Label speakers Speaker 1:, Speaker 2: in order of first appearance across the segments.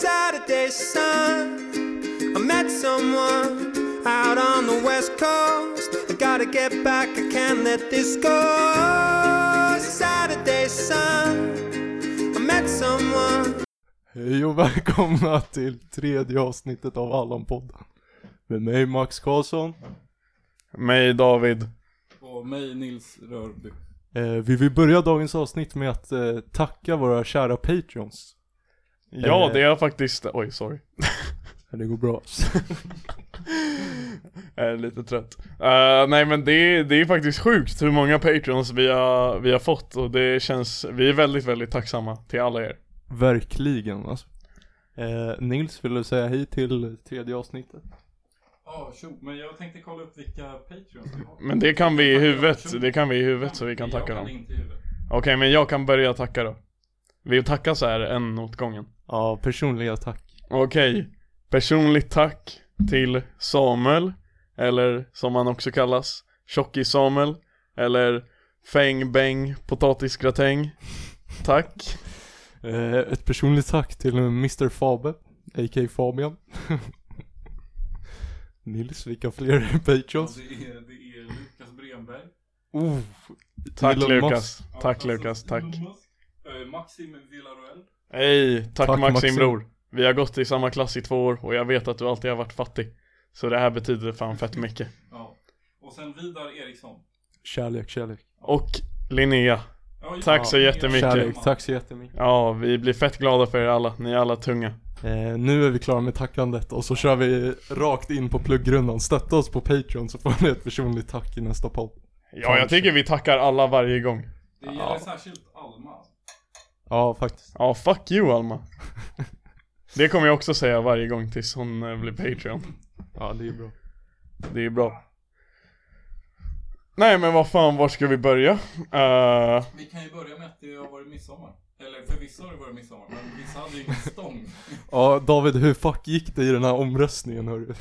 Speaker 1: station. Oh, I met someone out on the west coast. I gotta get back, I can't let this go. Saturday sun. I met someone.
Speaker 2: Hej och välkomna till tredje avsnittet av Allan-podden. Med mig Max Karlsson.
Speaker 3: Mig David.
Speaker 4: Och mig Nils Rörby.
Speaker 2: Eh, vi vill börja dagens avsnitt med att eh, tacka våra kära patreons.
Speaker 3: Ja,
Speaker 2: Eh.
Speaker 3: det är faktiskt... Oj, sorry.
Speaker 2: Ja, Det går bra.
Speaker 3: Jag är lite trött. Eh, nej men det, det är faktiskt sjukt hur många patrons vi har, vi har fått och det känns... Vi är väldigt, väldigt tacksamma till alla er.
Speaker 2: Verkligen alltså. Eh, Nils, vill du säga hej till tredje avsnittet?
Speaker 4: Ja, tjo, men jag tänkte kolla upp vilka Patreons vi har.
Speaker 3: Men det kan vi i huvudet, det kan vi i huvudet så vi kan tacka
Speaker 4: jag
Speaker 3: dem.
Speaker 4: kan inte i huvudet.
Speaker 3: Okej, men jag kan börja tacka då. Vi tackar så här en åt gången.
Speaker 2: Ja, personliga tack.
Speaker 3: Okej, personligt tack till Samuel, eller som han också kallas, Tjockis-Samuel, eller Fäng Bäng Potatisgratäng. Tack.
Speaker 2: Eh, ett personligt tack till Mr Fabe, a.k. Fabian. Nils, vilka fler
Speaker 4: Ja,
Speaker 2: patreons?
Speaker 4: det, är, det är Lukas Bremberg.
Speaker 2: Oh,
Speaker 3: Tack
Speaker 2: Elon
Speaker 3: Lukas.
Speaker 4: Ja,
Speaker 3: Tack
Speaker 4: alltså,
Speaker 3: Lukas, tack.
Speaker 4: Elon Musk. Eh, Maxim Villaruel.
Speaker 3: Hej, tack,
Speaker 2: Tack,
Speaker 3: Maxim,
Speaker 2: Maxim.
Speaker 3: bror. Vi har gått i samma klass i två år och jag vet att du alltid har varit fattig. Så det här betyder fan fett mycket.
Speaker 4: Ja. Och sen Vidar Eriksson.
Speaker 2: Kärlek, kärlek.
Speaker 3: Och Linnea.
Speaker 4: Ja, just
Speaker 3: Tack
Speaker 4: det.
Speaker 3: så jättemycket.
Speaker 2: Kärlek, tack så jättemycket.
Speaker 3: Ja, vi blir fett glada för er alla. Ni är alla tunga.
Speaker 2: Eh, nu är vi klara med tackandet och så kör vi rakt in på pluggrundan. Stötta oss på Patreon så får ni ett personligt tack i nästa podd.
Speaker 3: Ja, jag tycker vi tackar alla varje gång.
Speaker 4: Det gäller särskilt Alma.
Speaker 2: Ja, faktiskt.
Speaker 3: Ja, fuck you Alma. Det kommer jag också säga varje gång tills hon eh, blir Patreon.
Speaker 2: Ja, det är bra.
Speaker 3: Det är bra. Nej men vad fan, var ska vi börja? Eh,
Speaker 4: Vi kan ju börja med att det har varit midsommar. Eller för vissa har det varit midsommar, men vissa hade ju ingen stång.
Speaker 2: Ja, David, hur fuck gick det i den här omröstningen hörru?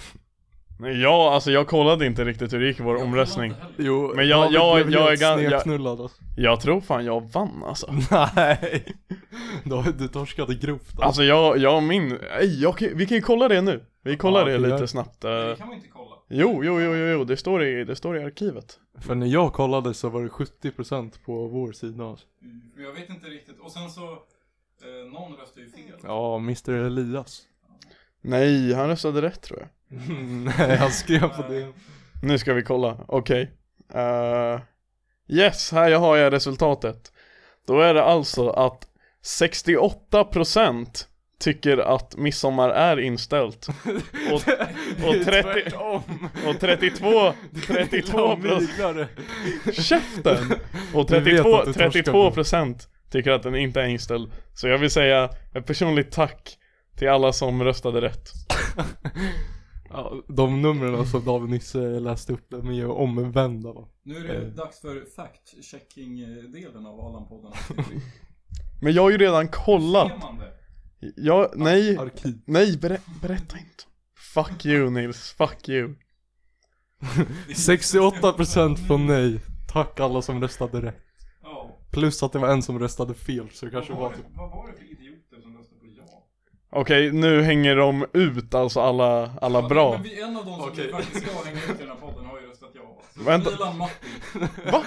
Speaker 3: nej, ja, alltså jag kollade inte riktigt hur det gick i vår
Speaker 4: Jag
Speaker 3: omröstning.
Speaker 4: kollar inte heller.
Speaker 2: Jo,
Speaker 3: Men jag-
Speaker 2: David
Speaker 3: jag-
Speaker 2: blev
Speaker 3: jag
Speaker 2: helt
Speaker 3: är gan- jag-
Speaker 2: snedknullad alltså.
Speaker 3: Jag tror fan jag vann alltså.
Speaker 2: Nej! David, du torskade grovt alltså.
Speaker 3: Alltså jag, jag och min, nej, jag, kan- vi kan ju kolla det nu. Vi kollar
Speaker 2: Ja,
Speaker 3: det
Speaker 2: vi gör
Speaker 3: lite
Speaker 2: det.
Speaker 3: snabbt.
Speaker 4: Men
Speaker 3: eh.
Speaker 4: Det kan man inte kolla.
Speaker 3: jo, jo, jo, jo, jo, det står i, det står i arkivet.
Speaker 2: För när jag kollade så var det 70% på vår sida alltså.
Speaker 4: Men Jag vet inte riktigt. Och sen så, eh, någon röstade ju fel.
Speaker 2: Ja, Mr Elias.
Speaker 3: Nej, han röstade rätt tror jag.
Speaker 2: Nej, han skrev på det.
Speaker 3: Nu ska vi kolla, okej. Eh, yes, här har jag resultatet. Då är det alltså att 68% tycker att midsommar är inställt. Och, och, 30,
Speaker 2: Tvärtom!
Speaker 3: och 32, 32 procent,
Speaker 2: procent.
Speaker 3: käften! Och
Speaker 2: Du vet
Speaker 3: 32,
Speaker 2: att du torskar
Speaker 3: 32 procent tycker att den inte är inställd. Så jag vill säga ett personligt tack till alla som röstade rätt.
Speaker 2: Ja, de numren som David nyss eh, läste upp, de är ju omvända va?
Speaker 4: Nu är det
Speaker 2: Eh.
Speaker 4: dags för fact-checking-delen av Allan-podden.
Speaker 3: Men jag har ju redan kollat.
Speaker 4: Ser man det?
Speaker 3: Jag, nej.
Speaker 2: Arkiv.
Speaker 3: Nej, berä berätta inte. Fuck you Nils, fuck you.
Speaker 2: 68% på nej. Tack alla som röstade rätt.
Speaker 4: Mm. Ja.
Speaker 2: Plus att det var en som röstade fel, så det kanske
Speaker 4: Vad
Speaker 2: var
Speaker 4: var,
Speaker 2: typ...
Speaker 4: det, vad var det för idioter som röstade på ja?
Speaker 3: Okej, nu hänger de ut alltså alla, alla
Speaker 4: Men
Speaker 3: bra.
Speaker 4: vi, en av dem som
Speaker 2: Okej.
Speaker 4: vi faktiskt ska hänga ut i den här podden har ju röstat ja. Så
Speaker 3: Vänta.
Speaker 4: Milan Matti.
Speaker 3: Va?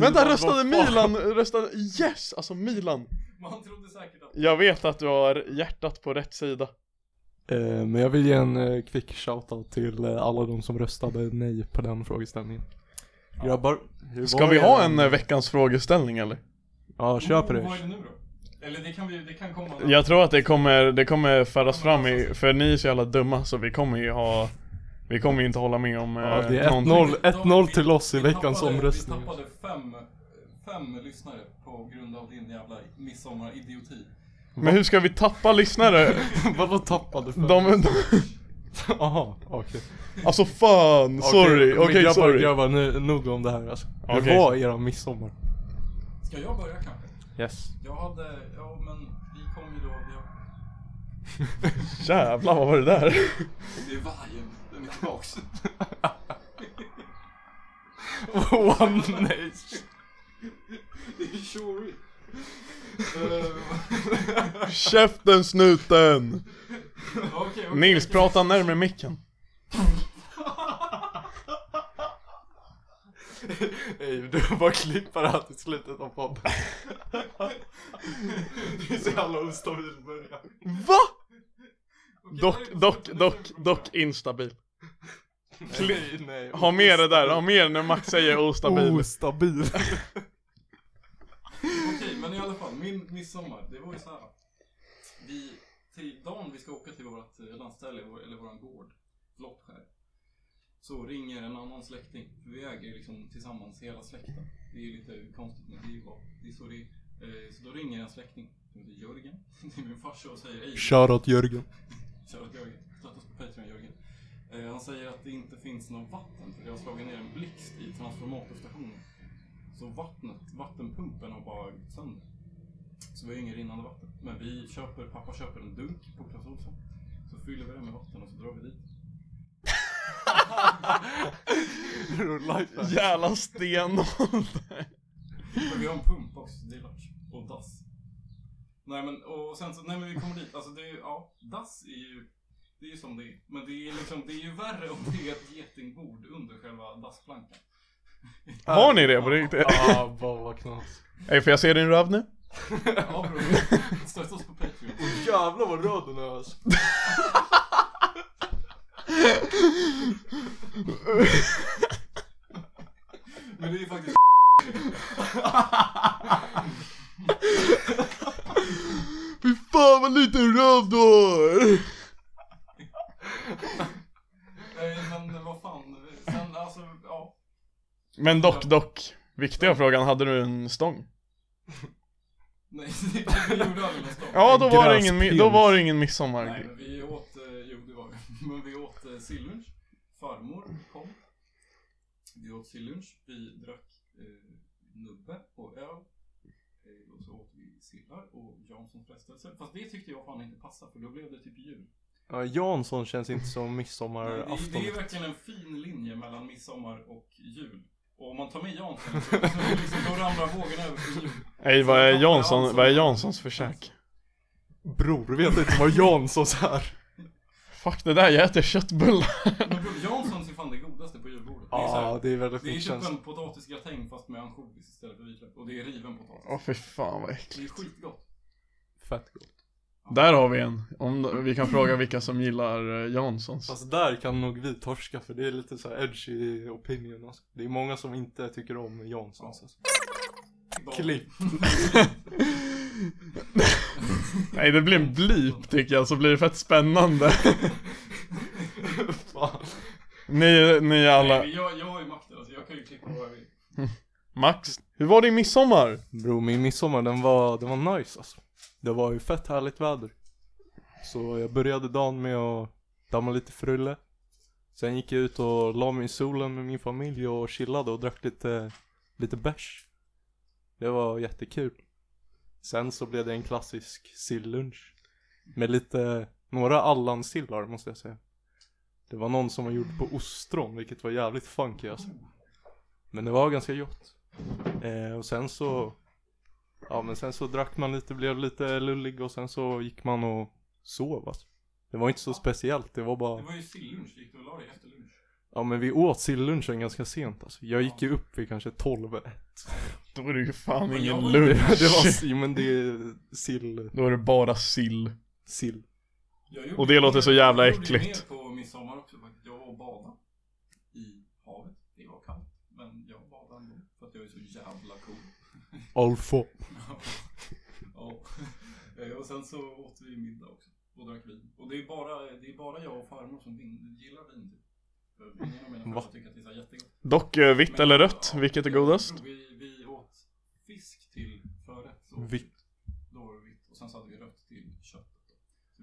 Speaker 3: Vänta,
Speaker 2: vad
Speaker 3: röstade
Speaker 2: fan?
Speaker 3: Milan? Röstade... Yes! Alltså Milan.
Speaker 4: Man trodde säkert att...
Speaker 3: Jag vet att du har hjärtat på rätt sida.
Speaker 2: Eh, men jag vill ge en eh, quick shoutout till eh, alla de som röstade nej på den frågeställningen. Grabbar, hur
Speaker 3: Ska
Speaker 2: var
Speaker 3: vi
Speaker 2: det?
Speaker 3: ha en eh, veckans frågeställning eller?
Speaker 2: Ja, kör på
Speaker 4: Vad är
Speaker 2: det.
Speaker 4: det nu då? Eller det kan, vi, det kan komma...
Speaker 3: Jag tror att det kommer, det kommer föras fram i, för ni är så jävla dumma så vi kommer ju ha Vi kommer ju inte hålla med om eh,
Speaker 2: Ja, det är
Speaker 3: någonting.
Speaker 2: 1-0, 1-0 till oss i
Speaker 4: Vi
Speaker 2: veckans
Speaker 4: tappade-
Speaker 2: omröstning.
Speaker 4: Vi tappade fem, fem lyssnare på grund av din jävla midsommaridioti.
Speaker 3: Men hur ska vi tappa lyssnare?
Speaker 2: Vadå tappade för?
Speaker 3: De, de,
Speaker 2: Aha, okej.
Speaker 3: alltså fan, sorry,
Speaker 2: men
Speaker 3: okej
Speaker 2: grabbar,
Speaker 3: sorry
Speaker 2: Grabbar, nu, nog om det här alltså. Det
Speaker 3: Okej.
Speaker 2: var era midsommar.
Speaker 4: Ska jag börja kanske?
Speaker 2: Yes.
Speaker 4: Jag hade, ja men vi kom ju då, vi har,
Speaker 3: Jävlar vad var det där?
Speaker 4: det är vargen, den är tillbaks.
Speaker 2: Åh nej.
Speaker 4: det är Shuri. Eh,
Speaker 3: Käften snuten!
Speaker 4: Okej, okej.
Speaker 3: Nils, prata närmare micken.
Speaker 2: Nej, du bara klipper allt i slutet av podden. det är så jävla ostabil början.
Speaker 3: Va?
Speaker 4: Okej,
Speaker 3: Dock,
Speaker 4: nu-
Speaker 3: dock,
Speaker 4: nu- nu-
Speaker 3: dock, dock instabil.
Speaker 2: Nej, nej.
Speaker 3: Ha med det där, ha med det när Max säger ostabil.
Speaker 2: Ostabil.
Speaker 4: Okej, men i alla fall, min midsommar, det var ju så här. Vi, till dagen vi ska åka till vårt eh, landställe, vår- eller våran gård, Loppskär, så ringer en annan släkting. För vi äger ju liksom tillsammans hela släkten. Det är ju lite konstigt, men det är ju bara, det är så det är. Eh, Så då ringer en släkting, som heter Jörgen, till min farsa och säger hej.
Speaker 2: Shoutout Jörgen.
Speaker 4: Shoutout Jörgen. Stöttas på Patreon Jörgen. Eh, han säger att det inte finns något vatten för det har slagit ner en blixt i transformatorstationen. Så vattnet, vattenpumpen har bara gått sönder. Så vi har inget rinnande vatten. Men vi köper, pappa köper en dunk på Clas Ohlson. Så fyller vi den med vatten och så drar vi dit.
Speaker 2: Lifehack.
Speaker 3: Jävla stenålder.
Speaker 4: Men vi har en pump också, det är large. Och dass. Nej men, och sen så, nej men vi kommer dit. Alltså det är ju, ja, dass är ju, det är ju som det är. Men det är liksom, det är ju värre om det är ett getingbord under själva dassplankan.
Speaker 3: Har ni det på riktigt?
Speaker 2: Ah, bara vad knas.
Speaker 3: Ej, får jag se din röv nu?
Speaker 4: Ja bror, stötta oss på Patreon.
Speaker 2: Jävlar vad röd den är alltså.
Speaker 4: Men det är ju faktiskt
Speaker 3: Fy fan vad liten röv du har!
Speaker 4: Nej men vad fan, sen alltså ja.
Speaker 3: Men dock, dock. Viktiga frågan, hade du en stång?
Speaker 4: Nej, det gjorde aldrig någon stopp.
Speaker 3: Ja, då var det
Speaker 2: Gräspels.
Speaker 3: ingen, mi- då var det ingen
Speaker 4: Nej
Speaker 3: midsommar.
Speaker 4: men vi åt, eh, jo det var vi. Men vi åt eh, sillunch. Farmor kom. Vi åt sillunch. Vi drack eh, nubbe och öl. Eh, och så åt vi sillar och Janssons frestelse. Fast det tyckte jag fan inte passade för då blev det typ jul.
Speaker 2: Ja, Jansson känns inte som
Speaker 4: Nej, det, är- det
Speaker 2: midsommarafton.
Speaker 4: är ju verkligen en fin linje mellan midsommar och jul. Och om man tar med Jansson så, så liksom, då ramlar vågorna över till jul.
Speaker 3: Ej, vad är, Jansson, vad är Janssons försök?
Speaker 2: Bror, vet inte vad Janssons är.
Speaker 3: Fuck det där, jag äter köttbullar.
Speaker 4: Men bror, Janssons är fan det godaste på julbordet. Det är, så
Speaker 2: Ja,
Speaker 4: här,
Speaker 2: det är väldigt
Speaker 4: det är
Speaker 2: fint
Speaker 4: typ
Speaker 2: känns.
Speaker 4: en potatisgratäng fast med ansjovis istället för vitlök. Och det är riven potatis.
Speaker 3: Åh fy fan vad äckligt.
Speaker 4: Det är skitgott.
Speaker 2: Fett gott.
Speaker 3: Där har vi en. Om vi kan fråga vilka som gillar eh, Janssons.
Speaker 2: Fast där kan nog vi torska för det är lite så här edgy opinion alltså. Det är många som inte tycker om Janssons alltså. Klipp.
Speaker 3: Nej det blir en blip tycker jag, så blir det fett spännande.
Speaker 2: Fan.
Speaker 3: Ni, ni alla.
Speaker 4: Nej, jag, jag har ju makten alltså. Jag kan ju klippa vad jag vill.
Speaker 3: Max, hur var din midsommar?
Speaker 2: Bro, min midsommar den var, den var nice alltså. Det var ju fett härligt väder. Så jag började dagen med att damma lite frulle. Sen gick jag ut och la mig i solen med min familj och chillade och drack lite, lite bärs. Det var jättekul. Sen så blev det en klassisk sillunch. Med lite, några Allan-sillar måste jag säga. Det var någon som var gjord på ostron, vilket var jävligt funky alltså. Men det var ganska gott. Eh, och sen så Ja men sen så drack man lite, blev lite lullig och sen så gick man och sov alltså. Det var inte så speciellt, det var
Speaker 4: Det
Speaker 2: bara
Speaker 4: var ju sillunch. Gick du och la dig efter lunch?
Speaker 2: Ja men vi åt sillunchen ganska sent alltså. Jag gick ju upp vid kanske 12 1.
Speaker 3: Då är det ju fan
Speaker 4: Men
Speaker 3: ingen
Speaker 4: jag-
Speaker 2: Det,
Speaker 3: lunch.
Speaker 2: det var, jo, men det är sill,
Speaker 3: Då är det bara sill.
Speaker 2: sill.
Speaker 4: Jag gjorde
Speaker 3: Och det
Speaker 4: ju
Speaker 3: låter
Speaker 4: mer-
Speaker 3: så jävla
Speaker 4: Jag gjorde
Speaker 3: äckligt.
Speaker 4: ju mer på midsommar också faktiskt. Jag var och badade i havet. Det var kallt. Men jag badade ändå. För att jag är så jävla cool.
Speaker 2: Alfa.
Speaker 4: ja. Eh, Och sen så åt vi middag också. Och drack vin. Och det är bara, det är bara jag och farmor som vin, gillar vin typ. För ingen av mina
Speaker 2: Va?
Speaker 4: föräldrar tycker att det är så här jättegott.
Speaker 3: Dock eh, vitt
Speaker 4: Men-
Speaker 3: eller rött,
Speaker 4: ja,
Speaker 3: vilket är
Speaker 4: jag tror
Speaker 3: godast?
Speaker 4: Vi, vi åt fisk till förrätt. Så
Speaker 2: Vitt.
Speaker 4: Då var det vitt. Och sen så hade vi rött till köttet.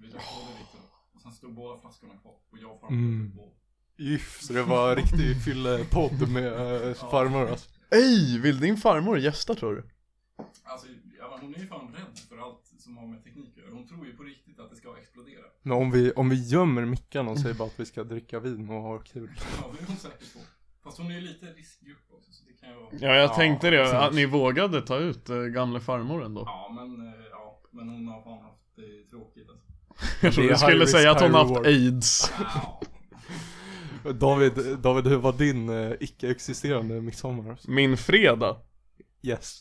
Speaker 4: Då. Så vi drack både vitt och rött. Och sen stod båda flaskorna kvar. Och jag och farmor
Speaker 2: Mm.
Speaker 4: drack båda.
Speaker 2: Yff, så det var riktig fyllepodd med äh, farmor alltså.
Speaker 3: Ej, vill din farmor gästa tror du?
Speaker 4: Alltså, ja, men hon är ju fan rädd för allt som har med teknik att göra. Hon tror ju på riktigt att det ska explodera.
Speaker 2: Men om vi, om vi gömmer mickarna och säger bara att vi ska dricka vin och ha kul.
Speaker 4: Ja, det är hon säker på. Fast hon är ju lite riskgrupp också, så det kan ju vara...
Speaker 3: Ja, jag
Speaker 2: Ja,
Speaker 3: tänkte det. Att
Speaker 2: precis.
Speaker 3: ni vågade ta ut eh, gamle farmor ändå.
Speaker 4: Ja, men, eh, ja, men hon har fan haft det tråkigt alltså.
Speaker 3: Jag trodde
Speaker 2: Det är
Speaker 3: du skulle
Speaker 2: high
Speaker 3: säga
Speaker 2: risk,
Speaker 3: att hon
Speaker 2: high
Speaker 3: haft
Speaker 2: reward.
Speaker 3: aids.
Speaker 2: David, David, hur var din eh, icke-existerande midsommar?
Speaker 3: Min fredag.
Speaker 2: Yes.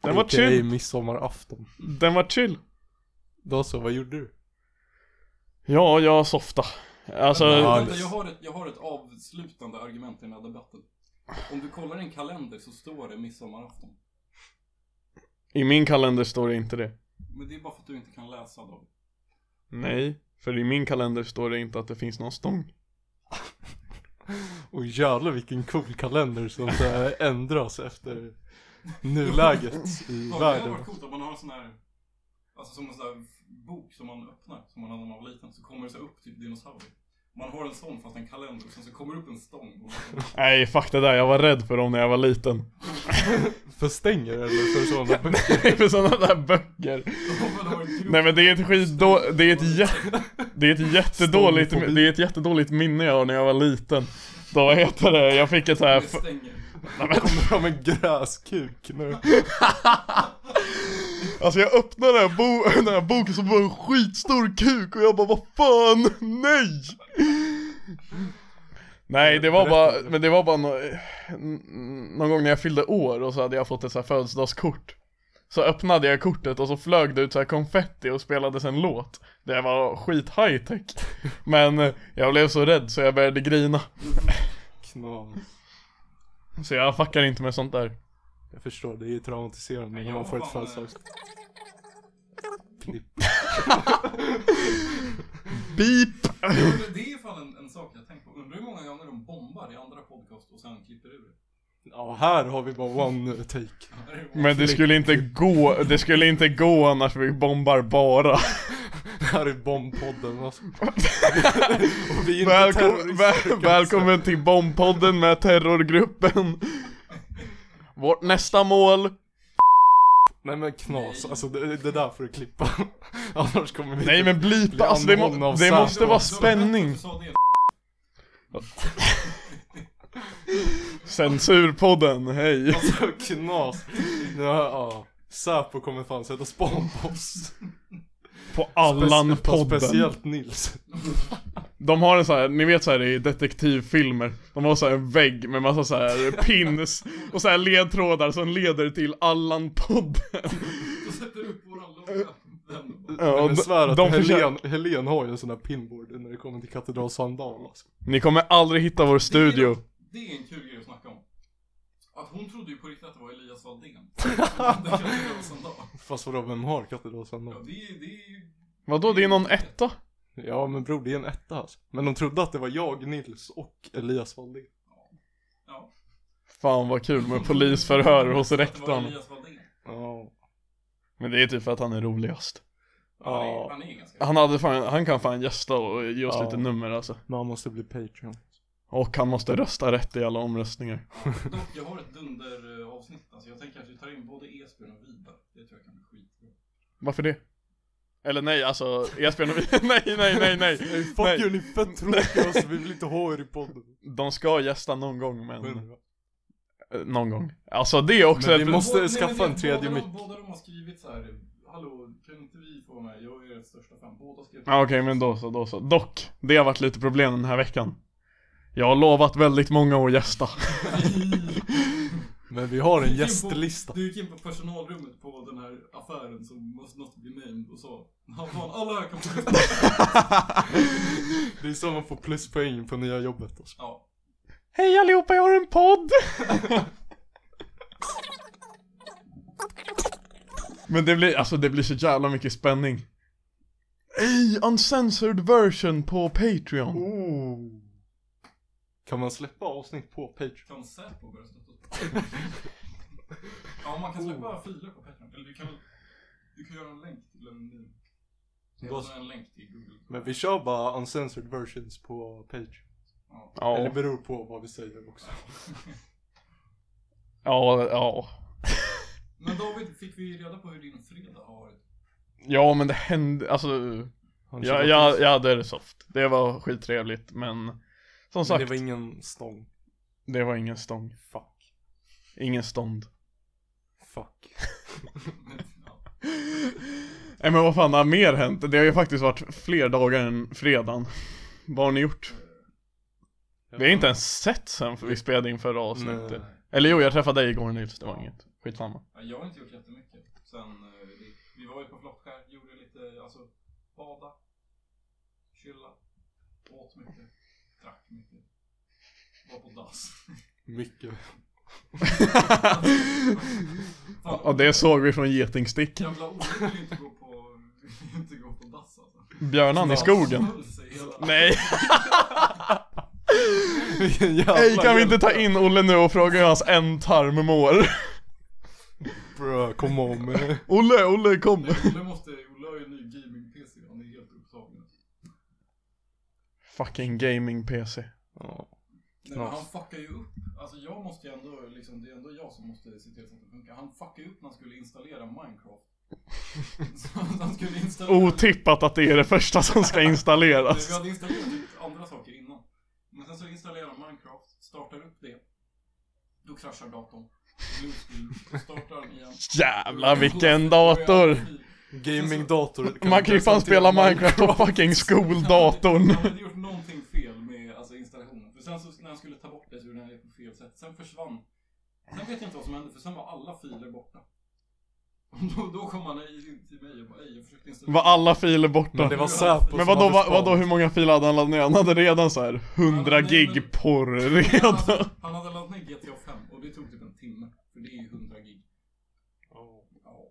Speaker 3: Den var
Speaker 2: Aka
Speaker 3: chill.
Speaker 2: midsommarafton.
Speaker 3: Den var chill.
Speaker 2: Då så, vad gjorde du?
Speaker 3: Ja, jag softa. Alltså,
Speaker 2: Ja,
Speaker 4: vänta,
Speaker 2: det-
Speaker 4: jag, har ett, jag har ett avslutande argument i den här debatten. Om du kollar en kalender så står det midsommarafton.
Speaker 3: i min kalender står det inte det.
Speaker 4: Men det är bara för att du inte kan läsa dem.
Speaker 3: Nej, för i min kalender står det inte att det finns någon stång.
Speaker 2: Och jävlar vilken cool kalender som så här ändras efter nuläget i
Speaker 4: Ja, det hade varit
Speaker 2: världen.
Speaker 4: coolt om man har en sån här, alltså som en sån här bok som man öppnar, som man hade när man var liten. Så kommer det så här upp typ dinosaurier. Man har en sån fast en kalender och sen så kommer det upp en stång. Och
Speaker 3: Nej, fuck det där. Jag var rädd för dem när jag var liten.
Speaker 2: För stänger eller för sådana böcker?
Speaker 3: för sådana där
Speaker 4: Men
Speaker 3: böcker.
Speaker 4: det var en grov-
Speaker 3: Nej men det är ett skitdå... Det är ett, jä... det är ett jättedåligt...
Speaker 2: Stångofobi.
Speaker 3: Det är ett jättedåligt minne jag har när jag var liten. Då vad heter det? Jag fick ett så här...
Speaker 4: Det
Speaker 3: f-
Speaker 4: stänger.
Speaker 2: Kommer fram en gräskuk nu.
Speaker 3: Alltså jag öppnade den här, bo... den här boken som var en skitstor kuk och jag bara vad fan, nej! Nej det var bara, men det var bara nå- n- någon gång när jag fyllde år och så hade jag fått ett så här födelsedagskort Så öppnade jag kortet och så flög det ut så här konfetti och spelades en låt Det var skit high tech Men jag blev så rädd så jag började grina
Speaker 2: Knas.
Speaker 3: Så jag fuckar inte med sånt där
Speaker 2: Jag förstår, det är ju traumatiserande när man får ett födelsedags... Klipp.
Speaker 3: Beep!
Speaker 4: Men Det är fan en, en sak jag har tänkt på. Undrar hur många gånger de bombar i andra podcast och sen klipper ur det.
Speaker 2: Ja, här har vi bara one take.
Speaker 4: Ja, det. var-
Speaker 3: Men det skulle inte gå, det skulle inte gå annars vi bombar bara
Speaker 2: Det här är bombpodden alltså. Och vi är inte alltså.
Speaker 3: Välkom
Speaker 2: terrorister.
Speaker 3: väl välkommen till Bombpodden med terrorgruppen Vårt nästa mål
Speaker 2: Nej men knas, alltså det, det där får du klippa. Annars kommer vi
Speaker 3: Nej men blipa, alltså det,
Speaker 2: anhållna
Speaker 3: må,
Speaker 2: av
Speaker 3: det
Speaker 2: Säpo.
Speaker 3: måste vara
Speaker 4: Det var bättre att
Speaker 3: spänning
Speaker 4: du sa det.
Speaker 3: Censurpodden, hej
Speaker 2: Alltså knas. Ja, ja. Säpo kommer fan sätta span på oss.
Speaker 3: På
Speaker 2: Spec- på
Speaker 3: Allan-podden
Speaker 2: Speciellt Nils.
Speaker 3: De har en sån här, ni vet så här i detektivfilmer De har så här en vägg med massa så här pins och så här ledtrådar som leder till Allan-podden
Speaker 4: Så sätter du upp våran logga. Den bara.
Speaker 3: Ja,
Speaker 2: Ja,
Speaker 3: de-
Speaker 2: jag svär att
Speaker 3: de
Speaker 2: Helen,
Speaker 3: försöker-
Speaker 2: Helen har ju en sån här pinboard när det kommer till Katedral Sandal alltså.
Speaker 3: Ni kommer aldrig hitta vår studio
Speaker 4: Det är en kul grej att snacka om. Att hon trodde ju på riktigt att det var Elias Waldén. Det kan jag göra en dag.
Speaker 2: Fast vadå, vem har Katedral
Speaker 4: Ja,
Speaker 2: Sandal?
Speaker 4: det är, det är ju...
Speaker 3: Vadå, det är någon etta?
Speaker 2: Ja men bror, det är en etta alltså. Men de trodde att det var jag, Nils och Elias Wallin.
Speaker 4: Ja.
Speaker 3: Fan vad kul med polisförhör hos
Speaker 4: Att det var
Speaker 3: rektorn
Speaker 4: Elias Waldén.
Speaker 2: Ja.
Speaker 3: Men det är typ för att han är roligast
Speaker 4: Han är-
Speaker 2: Ja.
Speaker 4: Han är ganska...
Speaker 3: Han, hade fan, han kan fan gästa och ge oss
Speaker 2: Ja.
Speaker 3: lite nummer alltså
Speaker 2: Men han måste bli Patreon.
Speaker 3: Och han måste rösta rätt i alla omröstningar
Speaker 4: Dock, jag har ett dunderavsnitt. Alltså, jag tänker att vi tar in både Esbjörn och Vidar. Det tror jag kan bli skitbra.
Speaker 3: Varför det? Eller nej alltså, Esbjörn och vi... nej nej nej nej!
Speaker 2: Hey, fuck
Speaker 3: nej.
Speaker 2: you, ni är fett tråkiga alltså, vi vill inte ha er i podden.
Speaker 3: De ska gästa någon gång men...
Speaker 2: Men,
Speaker 3: Eh, Någon gång Alltså det är också
Speaker 2: Men
Speaker 3: ett...
Speaker 2: vi måste
Speaker 4: Båda- nej,
Speaker 2: skaffa
Speaker 4: men det-
Speaker 2: en tredje
Speaker 4: båda de-
Speaker 2: mick.
Speaker 4: Båda de har skrivit så här. Hallå, kan inte vi få med? Jag är ert största fan. Båda skrev...
Speaker 3: Ja, Okej men då så, då så Dock, det har varit lite problem den här veckan Jag har lovat väldigt många att gästa
Speaker 2: men vi har
Speaker 4: Du
Speaker 2: en
Speaker 4: gick in på-
Speaker 2: gästlista.
Speaker 4: Du gick in på personalrummet på den här affären som måste något bli named och sa "Ja, fan, alla här kan få gästa."
Speaker 2: Det är så man får pluspoäng på nya jobbet alltså.
Speaker 4: Ja.
Speaker 3: Hej allihopa, jag har en podd! Men det blir, alltså det blir så jävla mycket spänning Ey, uncensored version på Patreon
Speaker 2: Oh. Kan man släppa avsnitt på Patreon?
Speaker 4: Kan Säpo börja stötta oss? Ja, man kan släppa filer på Patreon. Eller du kan väl... Du kan göra en länk till en ny...
Speaker 2: Då-
Speaker 4: Eller en länk till Google.
Speaker 2: Men vi kör bara uncensored versions på Patreon.
Speaker 4: Ja.
Speaker 2: Eller
Speaker 3: Ja,
Speaker 2: beror på vad vi säger också.
Speaker 3: ja, ja
Speaker 4: Men David, fick vi reda på hur din fredag har varit?
Speaker 3: Ja men det hände, alltså
Speaker 2: Han kör
Speaker 3: jag, jag, jag hade det soft Det var skittrevligt men Som
Speaker 2: Men
Speaker 3: sagt,
Speaker 2: det var ingen stång.
Speaker 3: ingen stång,
Speaker 2: Fuck.
Speaker 3: ingen stånd
Speaker 2: Fuck.
Speaker 4: Men, ja.
Speaker 3: Nej men vad fan har mer hänt? Det har ju faktiskt varit fler dagar än fredagen. Vad har ni gjort? Vi har inte ens sett sen för vi spelade in förra avsnittet.
Speaker 2: Nej.
Speaker 3: Eller jo, jag träffade dig igår Nils, det var inget. Skitsamma.
Speaker 4: Ja, jag har inte gjort jättemycket. Sen, eh, vi, vi var ju på Flockskär, gjorde lite, alltså, bada, chilla, åt mycket, drack mycket, var på dass.
Speaker 2: Mycket.
Speaker 4: Fan,
Speaker 3: Ja, det såg vi från Getingstick.
Speaker 4: Gamla Olle vill ju inte gå på, vill inte gå på dass alltså.
Speaker 3: Björnan i skogen.
Speaker 4: Han höll sig hela...
Speaker 3: Nej, Ej, kan vi inte ta in Olle nu och fråga hur hans ändtarm mår?
Speaker 2: Bro, kom om.
Speaker 3: Olle, Olle kom.
Speaker 4: Nej, Olle måste, Olle har ju en ny gaming-PC, han är helt upptagen.
Speaker 3: Fucking gaming-PC.
Speaker 2: Ja.
Speaker 4: Nej men han
Speaker 2: Knas.
Speaker 4: fuckar ju upp. Alltså jag måste ju ändå liksom, det är ändå jag som måste se till så att det funkar. Han fuckar ju upp när han skulle installera Minecraft. så han skulle installera...
Speaker 3: Otippat att det är det första som ska
Speaker 4: Nej, Vi
Speaker 3: installeras.
Speaker 4: hade installerat typ andra saker innan. Men sen så installerar han Minecraft, startar upp det. Då kraschar datorn. Blue screen. Så startar den igen.
Speaker 3: Jävlar vilken dator!
Speaker 2: Gaming-dator. kan
Speaker 3: Man kan ju
Speaker 2: inte
Speaker 3: fan
Speaker 2: ens
Speaker 3: spela
Speaker 2: hantera
Speaker 3: Minecraft på fucking
Speaker 4: Han
Speaker 3: skoldatorn.
Speaker 4: hade- han hade gjort någonting fel med alltså, installationen. För sen så när han skulle ta bort det så gjorde han det på fel sätt. Sen försvann. Sen vet jag inte vad som hände för sen var alla filer borta. Och då, då kom han i- till mig och bara "Ey, jag försökte installera.
Speaker 3: Var alla filer borta?
Speaker 2: Men det var Säpo som
Speaker 3: Men vadå,
Speaker 2: hade
Speaker 3: vad,
Speaker 2: sparat.
Speaker 3: vadå, hur många filer hade han laddat ner? Han hade redan så här 100 gig porr
Speaker 4: han,
Speaker 3: redan.
Speaker 4: hade- han hade laddat ner GTA 5 och det tog typ en timme. För det är ju 100 gig. Ja.
Speaker 2: Oh.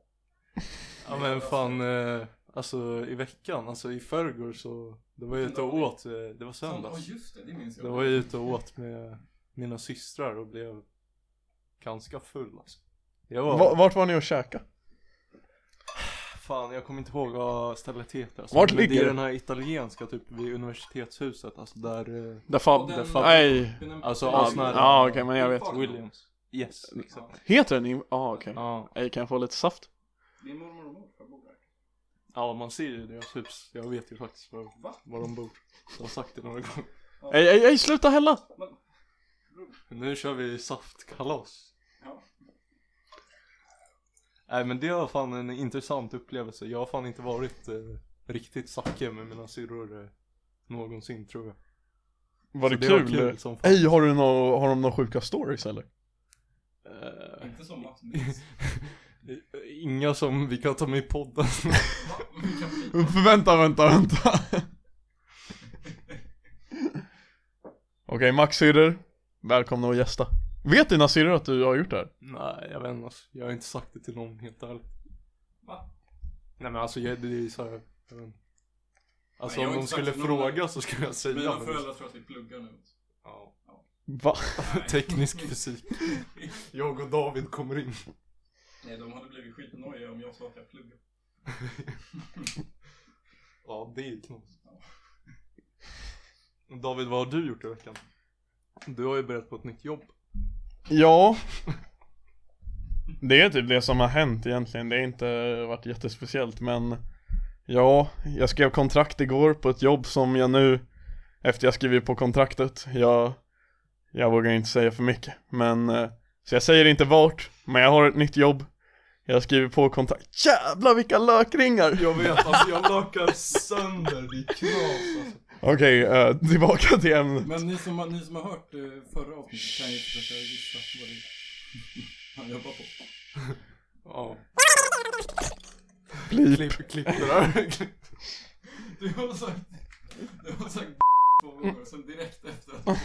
Speaker 2: Ja men fan, eh, alltså i veckan, alltså i förrgår så, det var jag ute och åt, eh, det var
Speaker 4: Sen, ja
Speaker 2: söndags.
Speaker 4: just det, det minns jag.
Speaker 2: Då var jag ute och åt med mina systrar och blev ganska full alltså. Jag var,
Speaker 3: Va- Vart var ni och käka?
Speaker 2: fan jag kommer inte ihåg vad stället heter alltså.
Speaker 3: Vart
Speaker 2: Men
Speaker 3: ligger
Speaker 2: det? är
Speaker 3: det?
Speaker 2: den här italienska typ vid universitetshuset alltså där, eh,
Speaker 3: Där
Speaker 4: Och
Speaker 3: fab...
Speaker 4: den-
Speaker 2: där fan-
Speaker 3: Nej.
Speaker 4: Men den-
Speaker 2: alltså
Speaker 3: Ja,
Speaker 2: asnära.
Speaker 3: ja, okej men jag vet. Mm.
Speaker 2: Williams. Yes, exakt.
Speaker 4: Ja,
Speaker 3: Heter den in... Ja okej.
Speaker 2: Ja.
Speaker 3: Ej, kan jag få lite saft?
Speaker 4: det är mormor och morfar bor där.
Speaker 2: ja, man ser ju deras hus. Jag vet ju faktiskt var,
Speaker 4: Va?
Speaker 2: var de bor. Jag har sagt det några gånger.
Speaker 3: Ej, ej, ej, sluta hälla!
Speaker 2: Nu kör vi saftkalas.
Speaker 4: Ja.
Speaker 2: Nej men det var fan en intressant upplevelse. Jag har fan inte varit eh, riktigt sake med mina syrror eh, någonsin tror jag.
Speaker 3: Var
Speaker 2: Så
Speaker 3: det,
Speaker 2: var
Speaker 3: kul?
Speaker 2: kul som fan.
Speaker 3: Ej, har, du nå... har de några sjuka stories eller?
Speaker 2: Eh,
Speaker 4: Inte som Mats minns.
Speaker 2: inga som vi kan ta med i podden.
Speaker 4: Va? Men vi kan bli-
Speaker 3: Vänta, vänta, vänta. Okej, Max syrror. Välkomna och gästa. Vet dina syrror att du har gjort det här?
Speaker 2: Nej jag vet inte alltså. Jag har inte sagt det till någon helt ärligt.
Speaker 4: Va?
Speaker 2: Nej men alltså jag, det är ju såhär. jag vet inte. Alltså
Speaker 4: Nej, jag har
Speaker 2: om de
Speaker 4: inte sagt
Speaker 2: skulle
Speaker 4: det till någon.
Speaker 2: fråga så skulle jag säga.
Speaker 4: Mina
Speaker 2: men-
Speaker 4: föräldrar tror att vi pluggar nu.
Speaker 2: Ja.
Speaker 3: Va?
Speaker 2: Teknisk fysik. Jag och David kommer in.
Speaker 4: Nej, de hade blivit skitnojiga om jag sa att jag pluggar.
Speaker 2: Ja, det är ju knas. David, vad har du gjort i veckan? Du har ju börjat på ett nytt jobb.
Speaker 3: Ja. Det är typ det som har hänt egentligen. Det har inte varit jättespeciellt men Ja, jag skrev kontrakt igår på ett jobb som jag nu Efter jag skrivit på kontraktet, jag Jag vågar inte säga för mycket men eh, Så jag säger inte vart, men jag har ett nytt jobb Jag har skrivit på kontrakt Jävlar vilka lökringar!
Speaker 2: Jag vet, alltså jag lökar sönder. Det är knas alltså.
Speaker 3: Okej, eh, tillbaka till ämnet
Speaker 4: Men ni som, har- ni som har hört eh, förra avsnittet kan ju försöka gissa vad det är han jobbar på.
Speaker 2: Ja,
Speaker 3: Bleep.
Speaker 2: klipp, klipp det där.
Speaker 4: Du har sagt, du har sagt två gånger, sen direkt efter att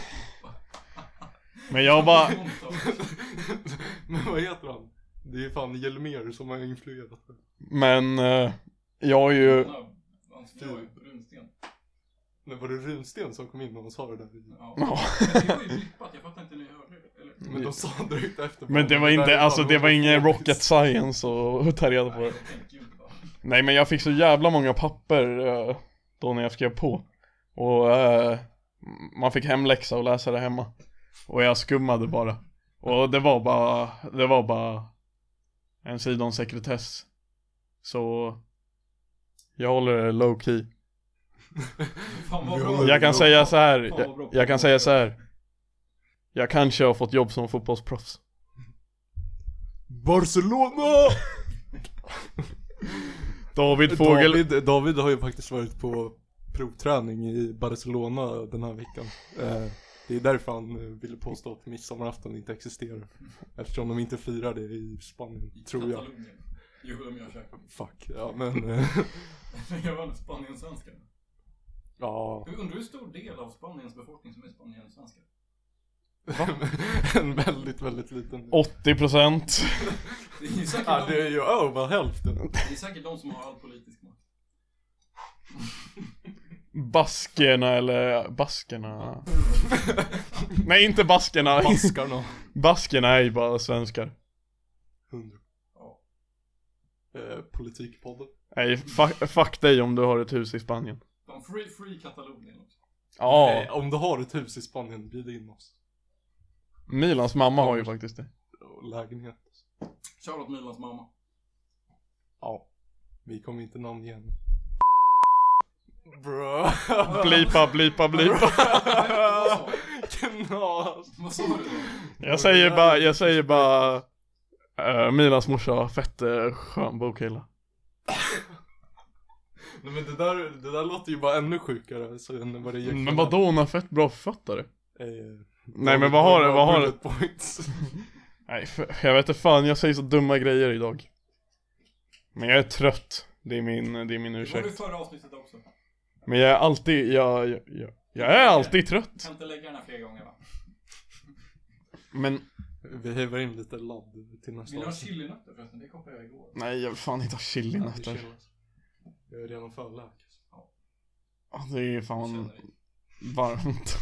Speaker 3: Men jag bara
Speaker 2: Men vad heter han? Det är fan Hjelmér som har influerat.
Speaker 3: Men eh, Jag har ju
Speaker 4: Han slår ju på runsten.
Speaker 2: Men var det Runsten som kom in och sa det där?
Speaker 4: Ja.
Speaker 3: Ja.
Speaker 4: Men Det var ju blippat, jag fattar inte hur ni hörde det. Eller?
Speaker 2: Men de sa direkt efter.
Speaker 3: Men det var
Speaker 2: där
Speaker 3: inte,
Speaker 2: är
Speaker 3: alltså
Speaker 2: fan
Speaker 3: det var ingen
Speaker 2: roligt.
Speaker 3: rocket science och och ta reda på det.
Speaker 4: Nej, gud vad.
Speaker 3: Nej men jag fick så jävla många papper eh, då när jag skrev på. Och eh, man fick hemläxa och läsa det hemma. Och jag skummade bara. Och det var bara, det var bara en sida om sekretess. Så jag håller det low key.
Speaker 4: Fan vad bra.
Speaker 3: Jag kan säga så här,
Speaker 4: Fan, vad bra
Speaker 3: jag, jag kan säga så här. Jag kanske har fått jobb som fotbollsproffs.
Speaker 2: Barcelona!
Speaker 3: David Fågel
Speaker 2: David, David har ju faktiskt varit på provträning i Barcelona den här veckan. Eh, det är därför han eh, ville påstå att midsommarafton inte existerar. Eftersom de inte firar det i Spanien, tror jag.
Speaker 4: Katalonien. Jo, de gör säkert.
Speaker 2: Fuck, ja men. eh,
Speaker 4: Jag var Spanien-svenskar.
Speaker 2: ja.
Speaker 4: Jag undrar hur stor del av Spaniens befolkning som är spanien-svenskar?
Speaker 2: en väldigt, väldigt liten.
Speaker 3: 80%
Speaker 4: Det är ju säkert,
Speaker 2: Ja, det
Speaker 4: de,
Speaker 2: är ju över hälften.
Speaker 4: det är säkert de som har all politisk makt.
Speaker 3: Baskerna eller baskerna Nej inte baskerna
Speaker 2: Baskarna.
Speaker 3: Baskerna är ju bara svenskar
Speaker 2: Hundra.
Speaker 4: Ja.
Speaker 2: Eh, politikpodden.
Speaker 3: Nej fuck, fuck dig om du har ett hus i Spanien
Speaker 4: De free, free Katalonien också.
Speaker 3: Ja,
Speaker 2: Eh, om du har ett hus i Spanien, bjud in oss.
Speaker 3: Milans mamma har ju faktiskt det
Speaker 2: Och lägenhet.
Speaker 4: Shoutout Milans mamma.
Speaker 2: Ja. Vi kommer inte namn igen. Bra.
Speaker 3: Blipa, blipa, blipa
Speaker 4: Vad sa du?
Speaker 2: Knas.
Speaker 4: Vad sa du? då?
Speaker 3: Jag säger bara, jag säger bara eh, Milans morsa har fett uh, skön bokhylla
Speaker 2: Nej men det där, det där låter ju bara ännu sjukare så än vad det egentligen
Speaker 3: Men vadå hon har fett bra författare?
Speaker 2: är. Eh,
Speaker 3: Nej men vad har du, vad har du?
Speaker 2: bullet Points.
Speaker 3: Nej, för, jag vet inte fan, jag säger så dumma grejer idag. Men jag är trött. Det är min, det är min
Speaker 4: Det var du
Speaker 3: ursäkt.
Speaker 4: förra avsnittet också.
Speaker 3: Men jag är alltid, jag, jag, jag, jag är alltid trött.
Speaker 4: Kan inte lägga den här fler gånger va?
Speaker 3: Men,
Speaker 2: Vi häver in lite ladd till nästa
Speaker 4: Vill du ha
Speaker 2: avsnitt.
Speaker 4: chilinötter förresten? Det kopplade jag igår.
Speaker 3: nej jag vill fan inte ha
Speaker 2: Ja, det
Speaker 3: chilinötter.
Speaker 2: chillas. Jag är redan för läk.
Speaker 3: Ja, Det är
Speaker 4: Jag
Speaker 3: fan
Speaker 4: känner det.
Speaker 3: varmt.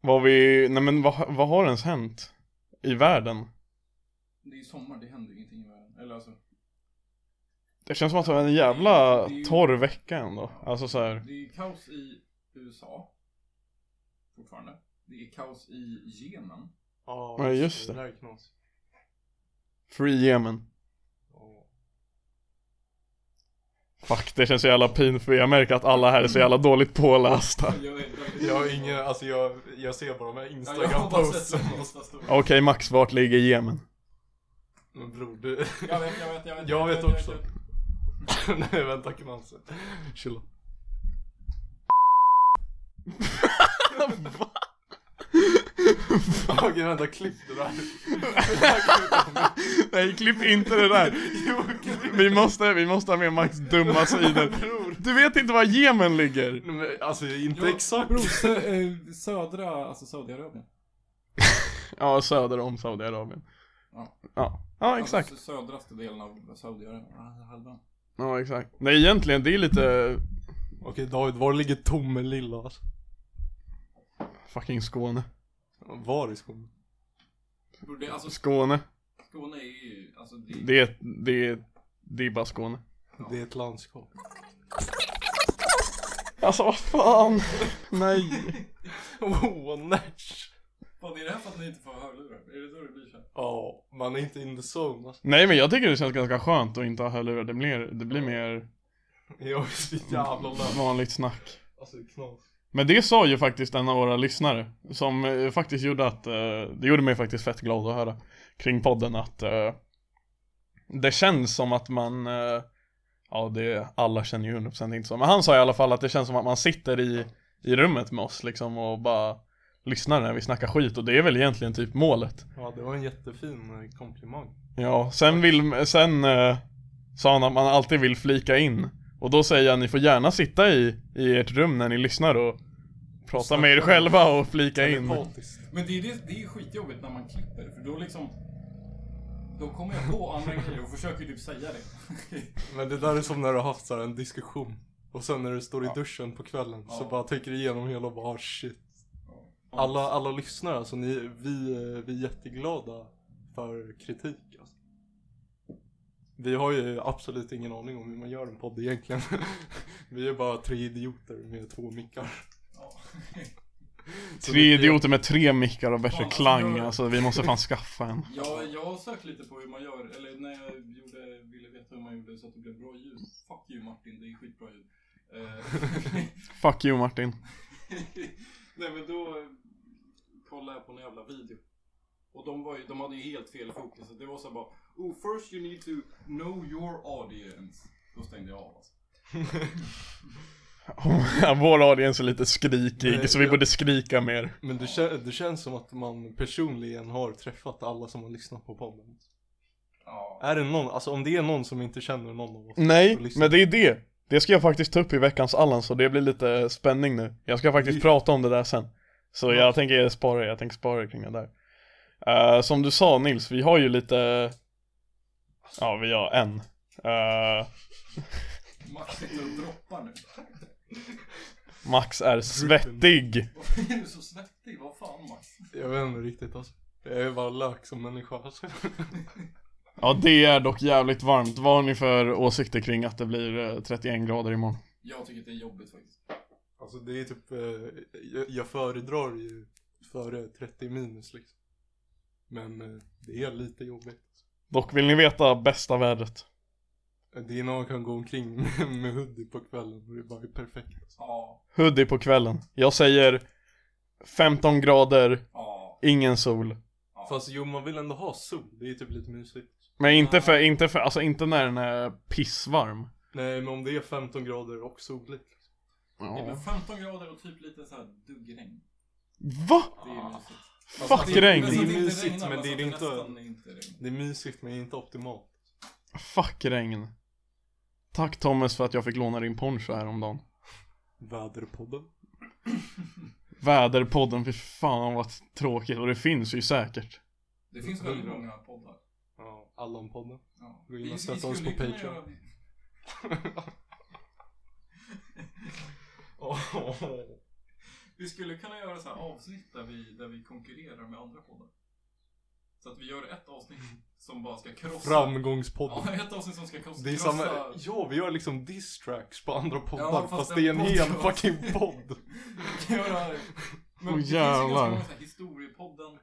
Speaker 3: Vad vi, nej men vad, vad har ens hänt? I världen?
Speaker 4: Det är ju sommar, det händer ju ingenting i världen. Eller alltså,
Speaker 3: Det känns som att det var en jävla torr vecka ändå. Alltså så här.
Speaker 4: det är ju kaos i USA. Fortfarande. Det är kaos i Jemen.
Speaker 2: Ja,
Speaker 3: Ja, just
Speaker 2: Det där är knas.
Speaker 3: Free Yemen.
Speaker 2: Ja.
Speaker 3: Fuck, det känns så jävla pin för jag märker att alla här är så jävla dåligt pålästa.
Speaker 4: Jag, är-
Speaker 2: Jag har ingen, alltså jag, jag ser bara de här
Speaker 4: Ja, jag har
Speaker 2: instagram
Speaker 4: bara sett
Speaker 2: posten
Speaker 4: den nästa story.
Speaker 3: Okej Max, vart ligger Jemen?
Speaker 2: Men bror du,
Speaker 4: Jag vet, jag vet, jag vet.
Speaker 2: Jag vet
Speaker 4: jag
Speaker 2: också. nej vänta knas. Chilla. Okej vänta, klipp det där.
Speaker 3: Nej, klipp inte det där. Vi måste, vi måste ha med Max dumma sidor.
Speaker 2: Bror.
Speaker 3: Du vet inte var Jemen ligger.
Speaker 2: Nej, men, Alltså inte
Speaker 4: Jo,
Speaker 2: exakt.
Speaker 4: Bror, södra, alltså Saudiarabien.
Speaker 3: Ja, söder om Saudiarabien.
Speaker 4: Ja.
Speaker 3: Ja, ja exakt.
Speaker 4: Alltså, södraste delen av Saudiarabien. Ah, halvan.
Speaker 3: Ja, exakt. Nej, egentligen, det är lite
Speaker 2: Okej David, var ligger Tomelilla? alltså?
Speaker 3: fucking Skåne.
Speaker 2: Var i Skåne?
Speaker 4: Bror, det, alltså
Speaker 3: Skåne.
Speaker 4: Skåne är ju, alltså det,
Speaker 3: Det är, det är, det är bara Skåne.
Speaker 2: Det är ett landskap.
Speaker 3: Alltså vad fan. Nej.
Speaker 2: Oh, Nash.
Speaker 4: Fan, är det här för att ni inte får hörlurar? Är det då det blir så här?
Speaker 2: Ja, man är inte in the zone alltså.
Speaker 3: Nej men jag tycker det känns ganska skönt att inte ha hörlurar. Det blir, det blir mer
Speaker 2: Jag är så jävla lärd.
Speaker 3: vanligt snack.
Speaker 2: Alltså knas.
Speaker 3: Men det sa ju faktiskt en av våra lyssnare Som eh, faktiskt gjorde att eh, Det gjorde mig faktiskt fett glad att höra Kring podden att eh, Det känns som att man eh, Ja det, alla känner ju 100% inte så Men han sa i alla fall att det känns som att man sitter i I rummet med oss liksom och bara Lyssnar när vi snackar skit och det är väl egentligen typ målet
Speaker 2: Ja, det var en jättefin eh, komplimang.
Speaker 3: Ja, sen vill, sen eh, Sa han att man alltid vill flika in Och då säger jag ni får gärna sitta i, i ert rum när ni lyssnar och Prata med er själva och flika in
Speaker 2: Telepatiskt.
Speaker 4: Men det är, det, det är skitjobbigt när man klipper, för då liksom... Då kommer jag på andra grejer och försöker typ säga det.
Speaker 2: Men det där är som när du har haft så här en diskussion. Och sen när du står i duschen på kvällen så
Speaker 4: Ja.
Speaker 2: bara tänker du igenom hela och bara "Ah, shit. Alla, alla lyssnare alltså, ni, vi, eh, vi är jätteglada för kritik alltså. Vi har ju absolut ingen aning om hur man gör en podd egentligen. vi är bara tre idioter med två mickar.
Speaker 4: Ja.
Speaker 2: Så
Speaker 3: Tre
Speaker 2: det-
Speaker 3: idioter med tre mickar och
Speaker 4: Ja,
Speaker 3: bättre
Speaker 4: alltså,
Speaker 3: klang,
Speaker 4: jag-
Speaker 3: alltså vi måste fan skaffa en
Speaker 4: Jag, jag har sökt lite på hur man gör, eller när jag gjorde, ville veta hur man gjorde så att det blev bra ljud. Fuck you Martin, det är skitbra ljud. Eh,
Speaker 3: Fuck you Martin
Speaker 4: Nej men då eh, kollade jag på en jävla video. Och de, var ju, de hade ju helt fel fokus. Det var så här bara oh first you need to know your audience. Då stängde jag av alltså.
Speaker 3: Vår audience är lite skrikig,
Speaker 2: Nej,
Speaker 3: så vi
Speaker 2: jag-
Speaker 3: borde skrika mer.
Speaker 2: Men det, kä- det känns som att man personligen har träffat alla som har lyssnat på podden.
Speaker 4: Ja.
Speaker 2: Är det någon, alltså om det är någon som inte känner någon av oss.
Speaker 3: Nej,
Speaker 2: Och lyssna.
Speaker 3: men det är det. Det ska jag faktiskt ta upp i veckans Allan, så det blir lite spänning nu. Jag ska faktiskt
Speaker 2: Vi-
Speaker 3: prata om det där sen. Så jag tänker spara det, jag tänker spara det kring det där. Eh, som du sa Nils, vi har ju lite... Ja, vi har en. Eh,
Speaker 4: Max sitter och droppar nu.
Speaker 3: Max är svettig.
Speaker 4: Varför är du så svettig? Vad fan Max?
Speaker 2: Jag vet inte riktigt alltså. Jag är bara lök som människa alltså.
Speaker 3: Ja, det är dock jävligt varmt. Vad har ni för åsikter kring att det blir eh, 31 grader imorgon?
Speaker 4: Jag tycker att det är jobbigt faktiskt.
Speaker 2: Alltså det är typ, eh, jag, jag föredrar ju före 30 minus liksom. Men eh, det är lite jobbigt.
Speaker 3: Dock vill ni veta bästa vädret?
Speaker 2: Det är när man kan gå omkring med, med hoodie på kvällen och det bara är perfekt. Alltså.
Speaker 4: Ja,
Speaker 3: Hoodie på kvällen. Jag säger 15 grader,
Speaker 4: ja.
Speaker 3: ingen sol.
Speaker 2: Fast jo man vill ändå ha sol, det är typ lite mysigt.
Speaker 3: Men inte för, inte för, alltså inte när den är pissvarm.
Speaker 2: Nej men om det är 15 grader och soligt. Liksom.
Speaker 4: Det är
Speaker 3: Ja.
Speaker 4: väl 15 grader och typ lite så här duggregn.
Speaker 3: Va?
Speaker 4: Det är mysigt.
Speaker 3: Fuck
Speaker 2: det är-
Speaker 3: regn.
Speaker 2: men
Speaker 4: så
Speaker 2: Det
Speaker 4: att
Speaker 2: är
Speaker 4: inte
Speaker 2: mysigt
Speaker 4: regnar,
Speaker 2: men det
Speaker 4: så
Speaker 2: är
Speaker 4: att
Speaker 2: inte,
Speaker 4: nästan inte regnar.
Speaker 2: det är mysigt men inte optimalt.
Speaker 3: Fuck regn. Tack Thomas för att jag fick låna din poncho häromdagen.
Speaker 2: Väderpodden.
Speaker 3: Väderpodden, för fan vad tråkigt. Och det finns ju säkert.
Speaker 4: Det finns väldigt många poddar.
Speaker 2: Ja, Allan-podden.
Speaker 4: Ja.
Speaker 2: Gå in och stötta oss
Speaker 4: skulle
Speaker 2: på
Speaker 4: kunna
Speaker 2: Patreon.
Speaker 4: göra- Vi skulle kunna göra så här avsnitt där vi, där vi konkurrerar med andra poddar. Så att vi gör ett avsnitt som bara ska krossa.
Speaker 2: Framgångspodden.
Speaker 4: Ja, ett avsnitt som ska krossa.
Speaker 2: Det är samma,
Speaker 4: krossa-
Speaker 2: ja vi gör liksom diss-tracks på andra poddar
Speaker 4: Ja,
Speaker 2: fast,
Speaker 4: fast
Speaker 2: det är en
Speaker 4: en
Speaker 2: hel
Speaker 4: podcast.
Speaker 2: fucking podd.
Speaker 4: göra... Men
Speaker 3: Åh,
Speaker 4: det finns ju
Speaker 3: jävlar.
Speaker 4: ganska många så här historiepodden.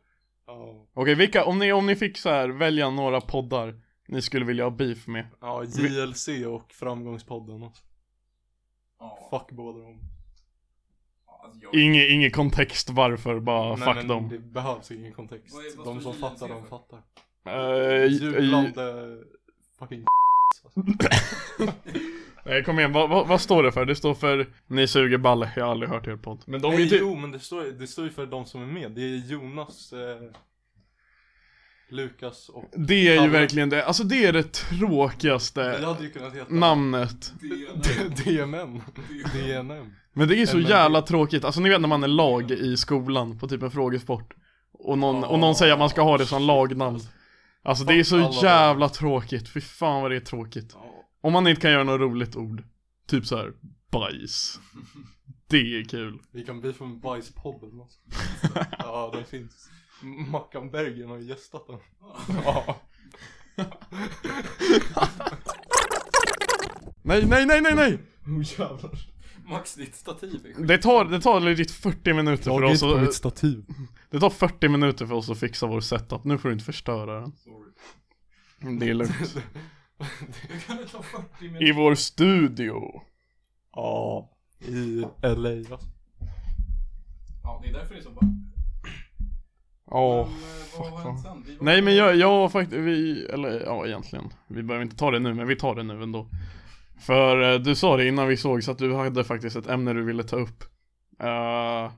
Speaker 2: Ja,
Speaker 3: Okej, vilka, om ni, om ni fick så här välja några poddar ni skulle vilja ha beef med.
Speaker 2: ja JLC och Framgångspodden alltså.
Speaker 4: Ja,
Speaker 2: Fuck båda dem.
Speaker 4: alltså jag...
Speaker 3: Inge, ingen kontext varför, bara
Speaker 2: Nej,
Speaker 3: fuck
Speaker 2: men
Speaker 3: dem.
Speaker 2: Det behövs ingen kontext.
Speaker 4: Vad är- vad
Speaker 2: de
Speaker 4: står
Speaker 2: som
Speaker 4: JLC
Speaker 2: fattar, de
Speaker 4: för?
Speaker 2: fattar.
Speaker 3: Eh, j-
Speaker 2: Jublande fucking
Speaker 3: Nej eh, kom igen, vad, vad, vad står det för? Det står för Ni suger balle, jag har aldrig hört er podd Men de är
Speaker 2: Nej,
Speaker 3: ju typ
Speaker 2: jo men det står, det står ju för de som är med. Det är Jonas, eh, Lukas och...
Speaker 3: Det är ju
Speaker 2: Kalle.
Speaker 3: verkligen det, alltså det är det
Speaker 2: Det
Speaker 3: tråkigaste
Speaker 2: hade ju kunnat heta...
Speaker 3: namnet
Speaker 4: DNR.
Speaker 2: DMN. DNM.
Speaker 3: Men det är så
Speaker 2: Nej, men
Speaker 3: jävla tråkigt, alltså ni vet när man är lag i skolan på typ en frågesport Och någon, och någon säger att man ska ha det som lagnamn Alltså det är så
Speaker 2: Alla lag.
Speaker 3: jävla tråkigt, fy fan vad det är tråkigt
Speaker 2: Ja.
Speaker 3: Om man inte kan göra något roligt ord, typ så här bajs Det är kul
Speaker 2: Vi kan bli från Bajspodden alltså. Ja, den finns. M- Mackan Bergen har ju gästat den.
Speaker 3: Ja. nej, nej, nej, nej, nej!
Speaker 2: Oh jävlar.
Speaker 4: Max, ditt stativ är skit.
Speaker 3: Det tar, det tar legit 40 minuter för oss att,
Speaker 2: stativ.
Speaker 3: Det tar 40 minuter för oss att fixa vår setup, nu får du inte förstöra den
Speaker 4: Sorry.
Speaker 3: Det är lugnt
Speaker 4: Det kan ta 40
Speaker 3: I
Speaker 4: minuter.
Speaker 3: vår studio
Speaker 2: Ja, i LA alltså.
Speaker 4: Ja, det är därför det är så bra.
Speaker 3: Ja,
Speaker 4: Men, eh, vad har hänt
Speaker 3: fuck
Speaker 4: sen? Vi var-
Speaker 3: Nej men jag, jag faktiskt, vi, eller ja egentligen Vi behöver inte ta det nu, men vi tar det nu ändå För eh, du sa det innan vi såg så att du hade faktiskt ett ämne du ville ta upp Eh,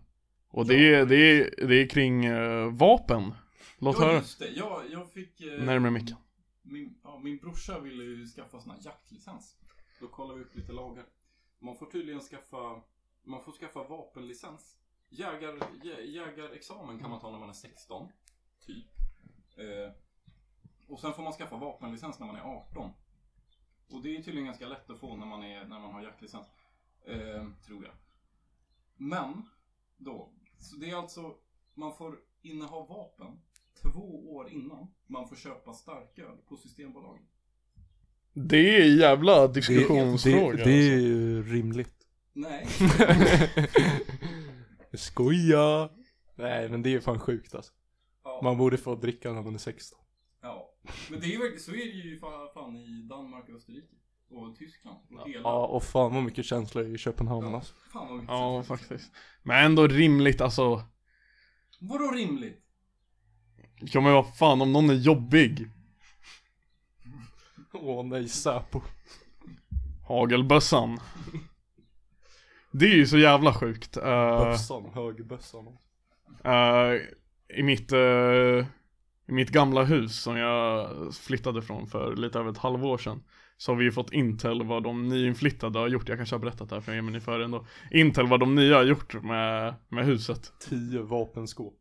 Speaker 3: Och det, är- det, är, det är kring eh, vapen Låt
Speaker 4: ja,
Speaker 3: höra,
Speaker 4: just det. Jag, jag fick... Eh,
Speaker 3: närmare micken
Speaker 4: Min, ja, min brorsa ville ju skaffa sån här jaktlicens. Då kollade vi upp lite lagar. Man får tydligen skaffa... Man får skaffa vapenlicens. Jägar, jä, jägarexamen kan man ta när man är 16. Typ. Eh, och sen får man skaffa vapenlicens när man är 18. Och det är tydligen ganska lätt att få när man, är, när man har jaktlicens. Eh, tror jag. Men, då. Så det är alltså... Man får inneha vapen två år innan man får köpa starköl på Systembolaget.
Speaker 3: Det är jävla diskussionsfråga alltså.
Speaker 2: är ju rimligt.
Speaker 4: Nej,
Speaker 2: Skoja! Nej men det är fan sjukt alltså.
Speaker 4: ja,
Speaker 2: Man borde få dricka när man är 16.
Speaker 4: ja. men det är ju, verkligen- så är det ju fan, fan i Danmark, Österrike och Tyskland och hela.
Speaker 2: Ja och fan vad mycket känslor i Köpenhamn
Speaker 4: Ja.
Speaker 2: alltså.
Speaker 4: Fan vad mycket
Speaker 3: Ja
Speaker 4: sens.
Speaker 3: faktiskt Men ändå rimligt alltså
Speaker 4: Vadå rimligt?
Speaker 3: Ja men vad fan om någon är jobbig
Speaker 2: Åh nej, Säpo.
Speaker 3: Hagelbössan. Det är ju så jävla sjukt. Eh,
Speaker 2: Bössan, högerbössan.
Speaker 3: Eh, I mitt eh, I mitt gamla hus som jag flyttade från för lite över ett halvår sedan Så har vi ju fått Intel vad de nyinflyttade har gjort Jag kanske har berättat det här för er men ni får höra ändå Intel vad de nya har gjort med, med huset
Speaker 2: Tio vapenskåp.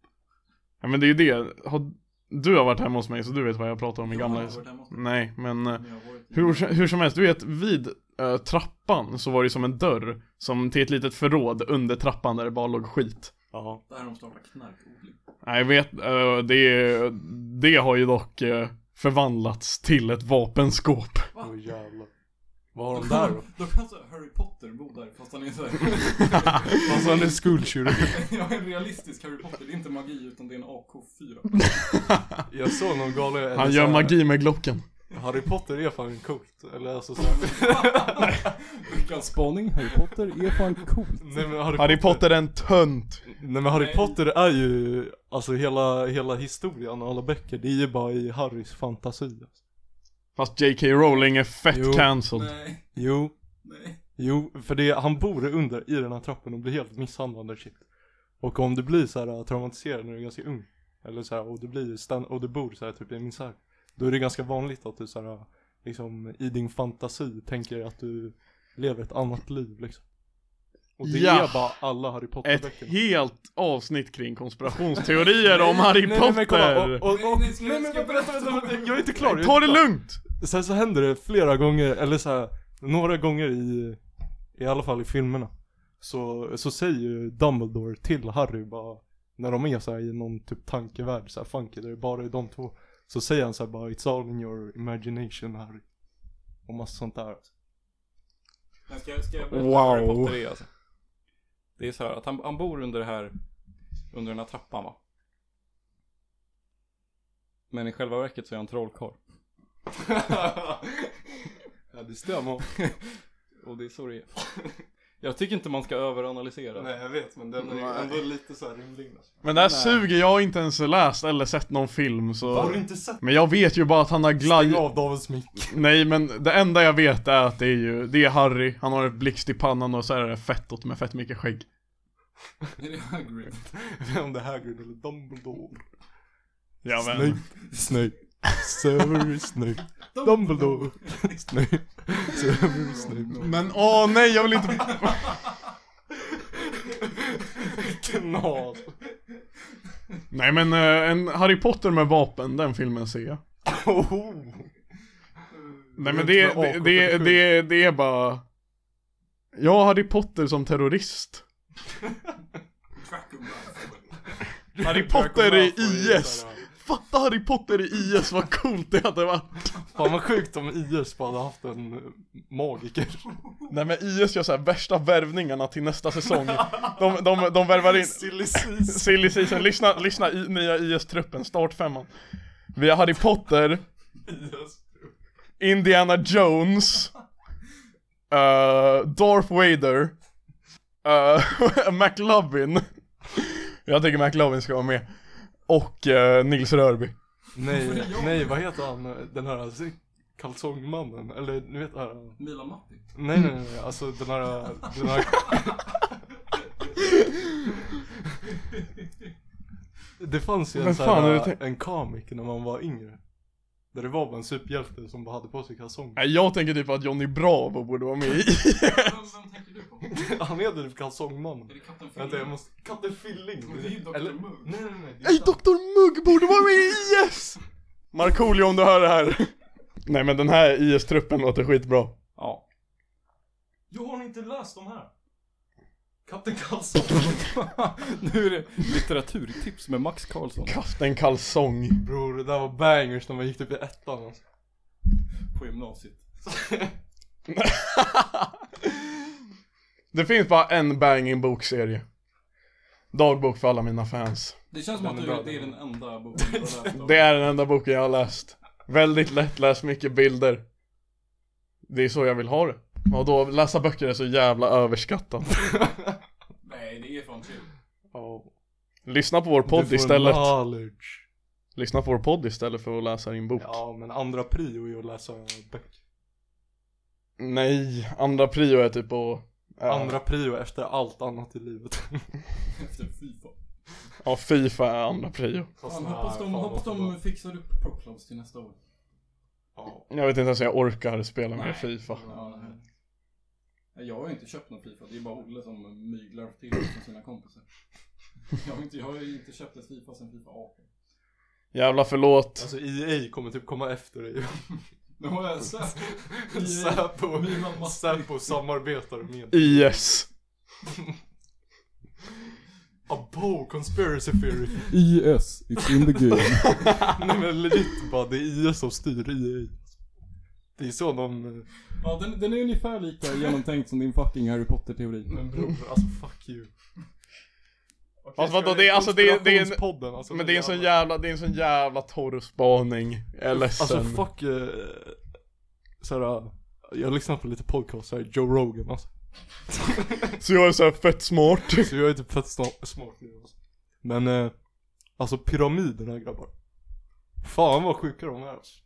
Speaker 3: Ja men det är ju det har, Du har varit hemma hos mig så du vet vad jag pratar om i
Speaker 4: Jag
Speaker 3: gamla
Speaker 4: har
Speaker 3: hus
Speaker 4: varit hemma hos dig.
Speaker 3: Nej men eh,
Speaker 4: Men jag har varit i-
Speaker 3: hur, hur som helst, du vet vid eh, trappan så var det ju som en dörr Som till ett litet förråd under trappan där det bara låg skit
Speaker 2: Ja.
Speaker 4: Där har de startat knarkodling.
Speaker 3: Nej, jag vet, eh, det, det har ju dock eh, förvandlats till ett vapenskåp.
Speaker 4: Va?
Speaker 2: Åh jävlar. Vad har de där då?
Speaker 4: Då kan så Harry Potter bo där fast han är såhär,
Speaker 2: Alltså han är skuldkyrka.
Speaker 4: jag är en realistisk Harry Potter, det är inte magi utan det är en AK4.
Speaker 2: Jag såg någon galen... eller
Speaker 3: Han
Speaker 2: så
Speaker 3: gör
Speaker 2: här,
Speaker 3: magi med Glocken.
Speaker 2: Harry Potter är fan coolt. Eller alltså så här,
Speaker 4: Veckans
Speaker 5: Spaning, Harry Potter är fan coolt.
Speaker 2: Nej men Harry,
Speaker 3: Harry Potter är en tönt.
Speaker 2: Nej men Harry
Speaker 4: Nej.
Speaker 2: Potter är ju, alltså hela, hela historien och alla böcker, det är ju bara i Harrys fantasi.
Speaker 3: Fast J.K. Rowling är fett
Speaker 2: Jo.
Speaker 3: cancelled.
Speaker 4: Nej,
Speaker 2: Jo,
Speaker 4: nej.
Speaker 2: Jo, för det, han bor under i den här trappen och blir helt misshandlad och shit. Och om du blir så här äh, traumatiserad när du är ganska ung, eller så här, och du blir stan- och du bor så här typ i en misär, då är det ganska vanligt att du så här, liksom i din fantasi tänker att du lever ett annat liv liksom. Och det
Speaker 3: Ja.
Speaker 2: är bara alla Harry
Speaker 3: Ett
Speaker 2: Potter-böcker.
Speaker 3: helt avsnitt kring konspirationsteorier om Harry
Speaker 2: Nej, nej, men kolla, och,
Speaker 3: Potter.
Speaker 2: och, och,
Speaker 4: Nej,
Speaker 2: nej,
Speaker 4: nej,
Speaker 2: men
Speaker 4: ska
Speaker 2: vänta,
Speaker 4: jag
Speaker 2: vänta,
Speaker 4: berätta?
Speaker 2: vänta, jag är inte klar. jag är
Speaker 3: Ta
Speaker 2: inte
Speaker 3: det
Speaker 2: klar.
Speaker 3: lugnt!
Speaker 2: Sen så händer det flera gånger, eller så här, några gånger i, i alla fall i filmerna. Så, så säger ju Dumbledore till Harry bara, när de är så här i någon typ tankevärld, så här funky, där det bara är de två. Så säger han så här bara, it's all in your imagination Harry. Och massa sånt där.
Speaker 4: Men ska, jag- ska jag berätta
Speaker 3: Wow.
Speaker 4: wow. Harry Potter är alltså? Det är så här att han, han bor under det här, under den här trappan va? Men i själva verket så är han trollkarl.
Speaker 2: Ja det stämmer.
Speaker 4: Och det är så det är. Jag tycker inte man ska överanalysera.
Speaker 2: jag vet men den
Speaker 3: är ändå
Speaker 2: lite så här rymling alltså.
Speaker 3: Men det här suger, jag har inte ens läst eller sett någon film så...
Speaker 2: inte sett?
Speaker 3: Men jag vet ju bara att han har glaj...
Speaker 2: Stäng av Davids mick.
Speaker 3: Nej men det enda jag vet är att det är ju, det är Harry, han har en blixt i pannan och så är det fettot med fett mycket skägg.
Speaker 4: Är det Hagrid?
Speaker 2: Om det är Hagrid eller Dumbledore.
Speaker 3: Ja, men-
Speaker 2: Snape, Snape, Severus Snape, Dumbledore, Snape, Severus Snape.
Speaker 3: Men åh nej, jag vill inte...
Speaker 2: Knas.
Speaker 3: Nej men eh, en Harry Potter med vapen, den filmen ser jag.
Speaker 2: Oh.
Speaker 3: Nej men det, det, det, det, det är bara... Ja, Harry Potter som terrorist.
Speaker 4: Draco Malfoy.
Speaker 3: Harry Potter i IS. Fatta Harry Potter i IS, vad coolt det hade varit.
Speaker 2: Fan vad sjukt om IS bara hade haft en eh, magiker.
Speaker 3: Nej men IS gör så här värsta värvningarna till nästa säsong. De, de, de värvar in...
Speaker 2: Silly season.
Speaker 3: Silly season, lyssna, lyssna i, nya IS-truppen, startfemman. Vi har Harry Potter,
Speaker 2: IS.
Speaker 3: Indiana Jones, eh, Darth Vader, uh, McLovin. Jag tycker McLovin ska vara med. Och eh, Nils Rörby.
Speaker 2: Nej, nej vad heter han, eh, den här alltså, kalsongmannen? Eller ni vet här. eh,
Speaker 4: Milan Matti.
Speaker 2: Nej nej nej, alltså den här, eh, den här Det fanns ju
Speaker 3: Vem
Speaker 2: en, så
Speaker 3: fan är
Speaker 2: här,
Speaker 3: det tänk-
Speaker 2: en komik när man var yngre. Där det var bara en superhjälte som bara hade på sig kalsonger.
Speaker 3: Nej, jag tänker typ att Johnny Bravo borde vara med i.
Speaker 4: Vem, vem tänker du på?
Speaker 2: Han heter typ kalsongmannen.
Speaker 4: Är det Kapten Phil?
Speaker 2: Vänta jag måste... Katte Filling.
Speaker 4: Men det är ju Dr.
Speaker 2: Eller-
Speaker 4: Mugg.
Speaker 2: Nej nej nej. det är
Speaker 3: Nej,
Speaker 2: sant.
Speaker 3: Dr Mugg borde vara med i IS! Markoolio om du hör det här. Nej men den här IS-truppen låter skitbra.
Speaker 4: Ja.
Speaker 2: Jo har ni inte läst de här? Kapten Kalsong.
Speaker 4: nu är det litteraturtips med Max Karlsson.
Speaker 3: Kasta en kalsong.
Speaker 2: Bror det där var bangers när man gick typ i ettan alltså.
Speaker 4: På gymnasiet.
Speaker 3: Det finns bara en banging bokserie. Dagbok för alla mina fans.
Speaker 4: Det känns som att
Speaker 2: Den är
Speaker 4: du,
Speaker 2: bra,
Speaker 4: det är
Speaker 2: den.
Speaker 4: den enda boken du har läst av.
Speaker 3: Det är den enda boken jag har läst. Väldigt lättläst, mycket bilder. Det är så jag vill ha det. Och då läsa böcker är så jävla överskattat.
Speaker 4: Nej, det är fan chill.
Speaker 2: Ja.
Speaker 3: Lyssna på vår podd
Speaker 2: Du får
Speaker 3: istället.
Speaker 2: knowledge.
Speaker 3: Lyssna på vår podd istället för att läsa din bok.
Speaker 2: Ja, men andra prio är att läsa böcker.
Speaker 3: Nej, andra prio är typ att... eh,
Speaker 2: Andra prio efter allt annat i livet.
Speaker 4: Efter Fifa.
Speaker 3: Ja, Fifa är andra prio.
Speaker 4: Fan, hoppas de,
Speaker 2: Fan,
Speaker 4: hoppas
Speaker 2: vad
Speaker 4: de
Speaker 2: bra.
Speaker 4: fixar upp Proclubs till nästa år.
Speaker 2: Ja.
Speaker 3: Jag vet inte ens om jag orkar spela mer Fifa.
Speaker 4: Ja, nej. jag har ju inte köpt någon Fifa, det är bara Olle som myglar till det från sina kompisar. Jag har, inte, jag har ju inte köpt ett Fifa sen Fifa 18.
Speaker 3: Jävla förlåt.
Speaker 2: Alltså EA kommer typ komma efter
Speaker 4: E
Speaker 2: dig.
Speaker 4: Men vad är Säpo?
Speaker 2: Säpo,
Speaker 4: Milan Matti.
Speaker 2: Säpo samarbetar med
Speaker 3: IS.
Speaker 2: Abo, conspiracy theory.
Speaker 5: IS, it's in the game.
Speaker 2: Nej men legit bara, det är IS som styr EA. Det är så de, eh,
Speaker 4: Ja, den, den är ungefär lika genomtänkt som din fucking Harry Potter-teori.
Speaker 2: men bror alltså fuck you. Okay,
Speaker 3: Fast vadå, det är- alltså, det är- det är en-
Speaker 2: podden, alltså,
Speaker 3: Men det är en sån jävla, det är en sån jävla torr spaning. Jag är
Speaker 2: Alltså
Speaker 3: ledsen.
Speaker 2: fuck, eh, såhär, jag lyssnar på lite podcast, såhär Joe Rogan alltså.
Speaker 3: Så jag är såhär fett smart.
Speaker 2: Så jag är typ fett sna- smart nu alltså. Men, eh, alltså pyramiderna grabbar. Fan vad sjuka de är alltså.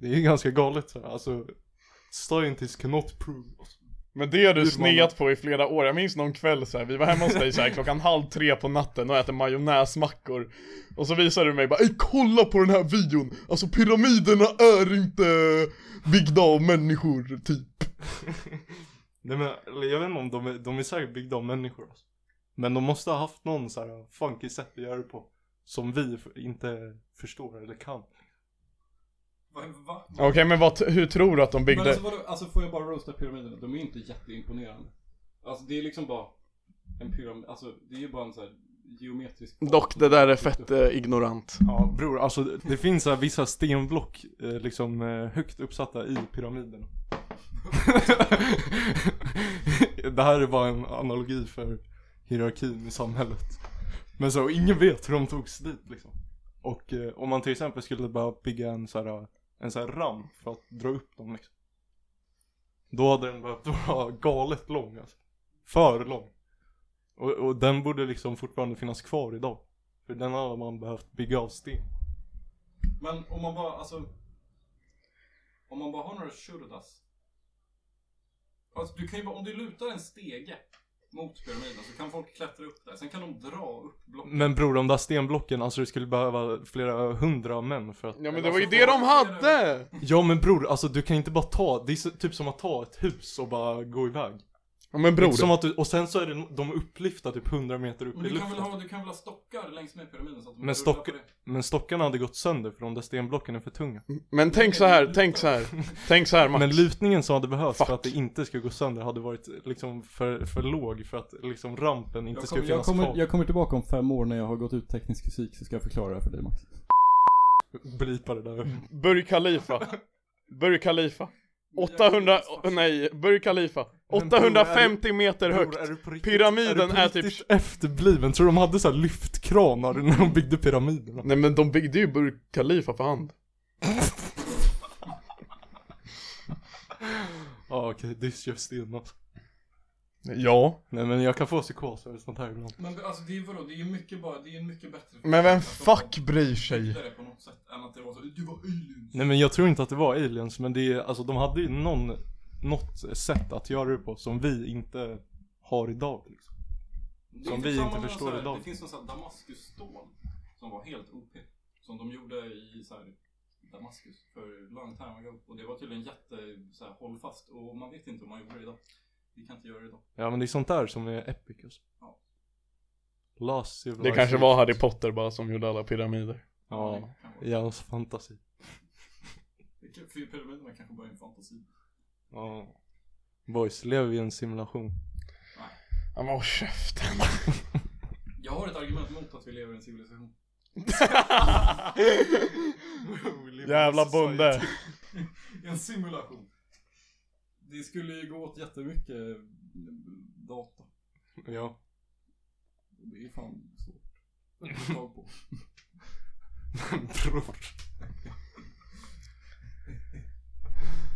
Speaker 2: Det är ju ganska galet så här. alltså. Scientists cannot prove alltså.
Speaker 3: Men det har du
Speaker 2: Hur man-
Speaker 3: sneat på i flera år, jag minns någon kväll så här, vi var hemma hos dig så här, klockan halv tre på natten och äter majonnäsmackor Och så visade du mig bara "Ey, kolla på den här videon! Alltså pyramiderna är inte byggda av människor, typ
Speaker 2: Nej men, eller jag vet inte om de är, de är säkert byggda av människor alltså. Men de måste ha haft någon så här funky sätt att göra det på. Som vi f- inte förstår eller kan.
Speaker 4: Va? va?
Speaker 3: Okej men vad, hur tror du att de
Speaker 4: Men
Speaker 3: byggde?
Speaker 4: alltså, vadå, alltså får jag bara roasta pyramiderna? De är ju inte jätteimponerande. Alltså det är liksom bara en pyramid, alltså det är ju bara en sån här geometrisk...
Speaker 3: eh, ignorant
Speaker 2: Ja bror, alltså det, det finns så här vissa stenblock eh, liksom eh, högt uppsatta i pyramiderna. det här är bara en analogi för hierarkin i samhället. Men så, ingen vet hur de togs dit liksom. Och eh, om man till exempel skulle bara bygga en så här, en så här ram för att dra upp dem liksom. Då hade den behövt vara galet lång alltså. För lång. Och, och den borde liksom fortfarande finnas kvar idag. För den hade man behövt bygga av sten.
Speaker 4: Men om man bara, alltså... Om man bara har några shurdas. Alltså du kan ju bara, om du lutar en stege mot pyramiden så kan folk klättra upp där. Sen kan de dra upp block.
Speaker 2: Men bror, de där stenblocken, alltså du skulle behöva flera hundra män för att...
Speaker 3: Ja men det var ju det de hade!
Speaker 2: Ja men bror, alltså du kan inte bara ta, det är så, typ som att ta ett hus och bara gå iväg.
Speaker 3: Ja men
Speaker 2: Det är Som
Speaker 3: bror,
Speaker 2: att du, och sen så är det, de är upplyfta typ hundra meter upp
Speaker 4: Men
Speaker 2: i
Speaker 4: du kan, väl
Speaker 2: luften.
Speaker 4: ha, du kan väl ha stockar längs med pyramiden så att de
Speaker 2: Men
Speaker 4: rullar på
Speaker 2: stock-
Speaker 4: det.
Speaker 2: Men stockarna hade gått sönder för de där stenblocken är för tunga.
Speaker 3: men tänk så här, tänk så här, tänk så här Max
Speaker 2: Men lutningen som hade behövts för
Speaker 3: Fuck.
Speaker 2: att det inte skulle gå sönder hade varit liksom för, för låg för att liksom rampen inte
Speaker 4: Jag
Speaker 2: skulle
Speaker 4: kommer-
Speaker 2: finnas kvar.
Speaker 5: jag kommer tillbaka om fem år när jag har gått ut teknisk fysik så ska jag förklara det här för dig Max.
Speaker 2: Blipa det där.
Speaker 3: Burj Khalifa Burj Khalifa 800, nej, Burj Khalifa
Speaker 2: Men bror, är du-
Speaker 3: 850 meter högt
Speaker 2: Bror, är du på riktigt-
Speaker 3: Pyramiden är,
Speaker 2: är du på
Speaker 3: typ...
Speaker 2: riktigt efterbliven? Tror de hade så här lyftkranar när de byggde pyramiderna?
Speaker 3: Nej men de byggde ju Burj Khalifa för hand.
Speaker 2: Ja okej, this just in alltså.
Speaker 3: Ja.
Speaker 2: Nej men jag kan få psykos över sånt här ibland.
Speaker 4: Men alltså det är vadå, det är ju mycket bara, det är en mycket bättre...
Speaker 3: Men vem
Speaker 4: att de
Speaker 3: fuck bryr sig?
Speaker 4: byggde det på något sätt än att det var så, du var aliens.
Speaker 2: Nej men jag tror inte att det var aliens, men det är, alltså de hade ju någon, något sätt att göra det på som vi inte har idag liksom.
Speaker 4: Det är
Speaker 2: Som
Speaker 4: typ
Speaker 2: vi
Speaker 4: samma
Speaker 2: inte
Speaker 4: med någon
Speaker 2: förstår
Speaker 4: så här-
Speaker 2: idag.
Speaker 4: Det finns någon sån här Damaskusstål som var helt OP. Som de gjorde i så här Damaskus för long time ago. Och det var tydligen jätte så här, håll fast och man vet inte om man gjorde det idag. Vi kan inte göra det idag.
Speaker 2: Ja men det är sånt där som är epic alltså.
Speaker 4: Ja.
Speaker 2: Last civilization.
Speaker 3: Det kanske var Harry Potter bara som gjorde alla pyramider.
Speaker 2: Ja,
Speaker 4: Det kan vara-
Speaker 2: i hans fantasi.
Speaker 4: det kan- För pyramiderna kanske bara är en fantasi.
Speaker 2: Ja. Boys, lever i en simulation.
Speaker 3: Ja men håll käften.
Speaker 4: Jag har ett argument mot att vi lever i en civilisation.
Speaker 3: Jävla bonde.
Speaker 4: En simulation. Det skulle ju gå åt jättemycket mm, data.
Speaker 2: Ja.
Speaker 4: Det är fan svårt. att få tag på.
Speaker 2: Bror.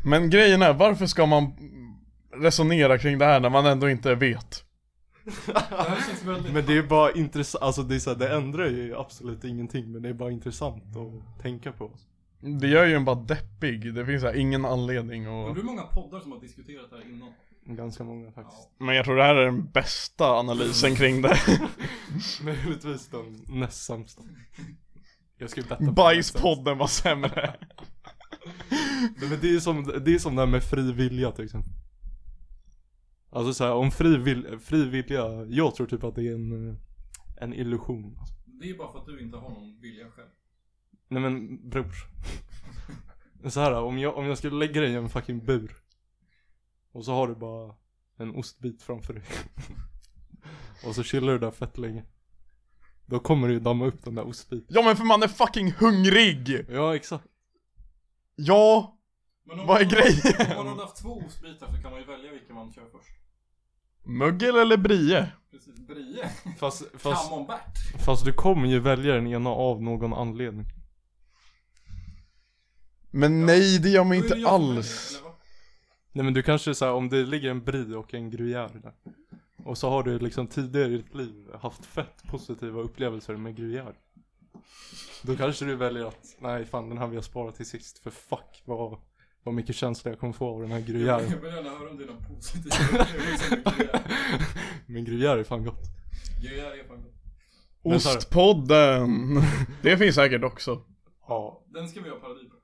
Speaker 3: Men grejen är, varför ska man resonera kring det här när man ändå inte vet?
Speaker 4: Det här känns väldigt...
Speaker 2: Men det är bara intressant, alltså det, är så här, det ändrar ju absolut ingenting men det är bara intressant att tänka på.
Speaker 3: Det gör ju en bara deppig, det finns så här ingen anledning
Speaker 4: Men
Speaker 3: och...
Speaker 4: hur många poddar som har diskuterat det här innan?
Speaker 2: Ganska många faktiskt.
Speaker 3: Men jag tror det här är den bästa analysen kring det
Speaker 2: Möjligtvis den näst sämsta. Jag ska ju betta på den
Speaker 3: Bajspodden var sämre
Speaker 2: sämsta. Nej, Men det är som, det är som det här med fri vilja till exempel. Alltså så här, om fri, vil, fri vilja, jag tror typ att det är en, eh, en illusion. Alltså.
Speaker 4: Det är bara för att du inte har någon vilja själv.
Speaker 2: Nej men bror. Så här, om jag, om jag skulle lägga dig i en fucking bur. Och så har du bara en ostbit framför dig. och så chillar du där fett länge. Då kommer du ju damma upp den där ostbiten.
Speaker 3: Ja men för man är fucking hungrig!
Speaker 2: Ja exakt.
Speaker 3: Ja,
Speaker 4: Men
Speaker 3: vad är
Speaker 4: man-
Speaker 3: grejen?
Speaker 4: Om man hade haft två ostbitar så kan man ju välja vilken man kör först.
Speaker 3: Mögel eller brie?
Speaker 4: Precis, Brie.
Speaker 2: Fast, fast,
Speaker 4: Camembert.
Speaker 2: fast du kommer ju välja den ena av någon anledning.
Speaker 3: Men nej det gör man
Speaker 4: Då är det
Speaker 3: inte
Speaker 4: jag som
Speaker 3: alls
Speaker 4: väljer, eller vad?
Speaker 2: Nej men du kanske så här, om det ligger en brie och en gruyère där. Och så har du liksom tidigare i ditt liv haft fett positiva upplevelser med gruyère. Då kanske du väljer att, nej fan den här vill jag spara till sist för fuck vad, vad mycket känslor jag kommer få av den här gruyèren.
Speaker 4: Jag vill gärna höra om dina positiva upplevelser med gruyère.
Speaker 2: Men gruyère är fan gott.
Speaker 4: Gruyère är fan gott.
Speaker 2: Men så här-
Speaker 3: Ostpodden! Det finns säkert också
Speaker 2: Ja.
Speaker 4: Den ska vi ha parodi på.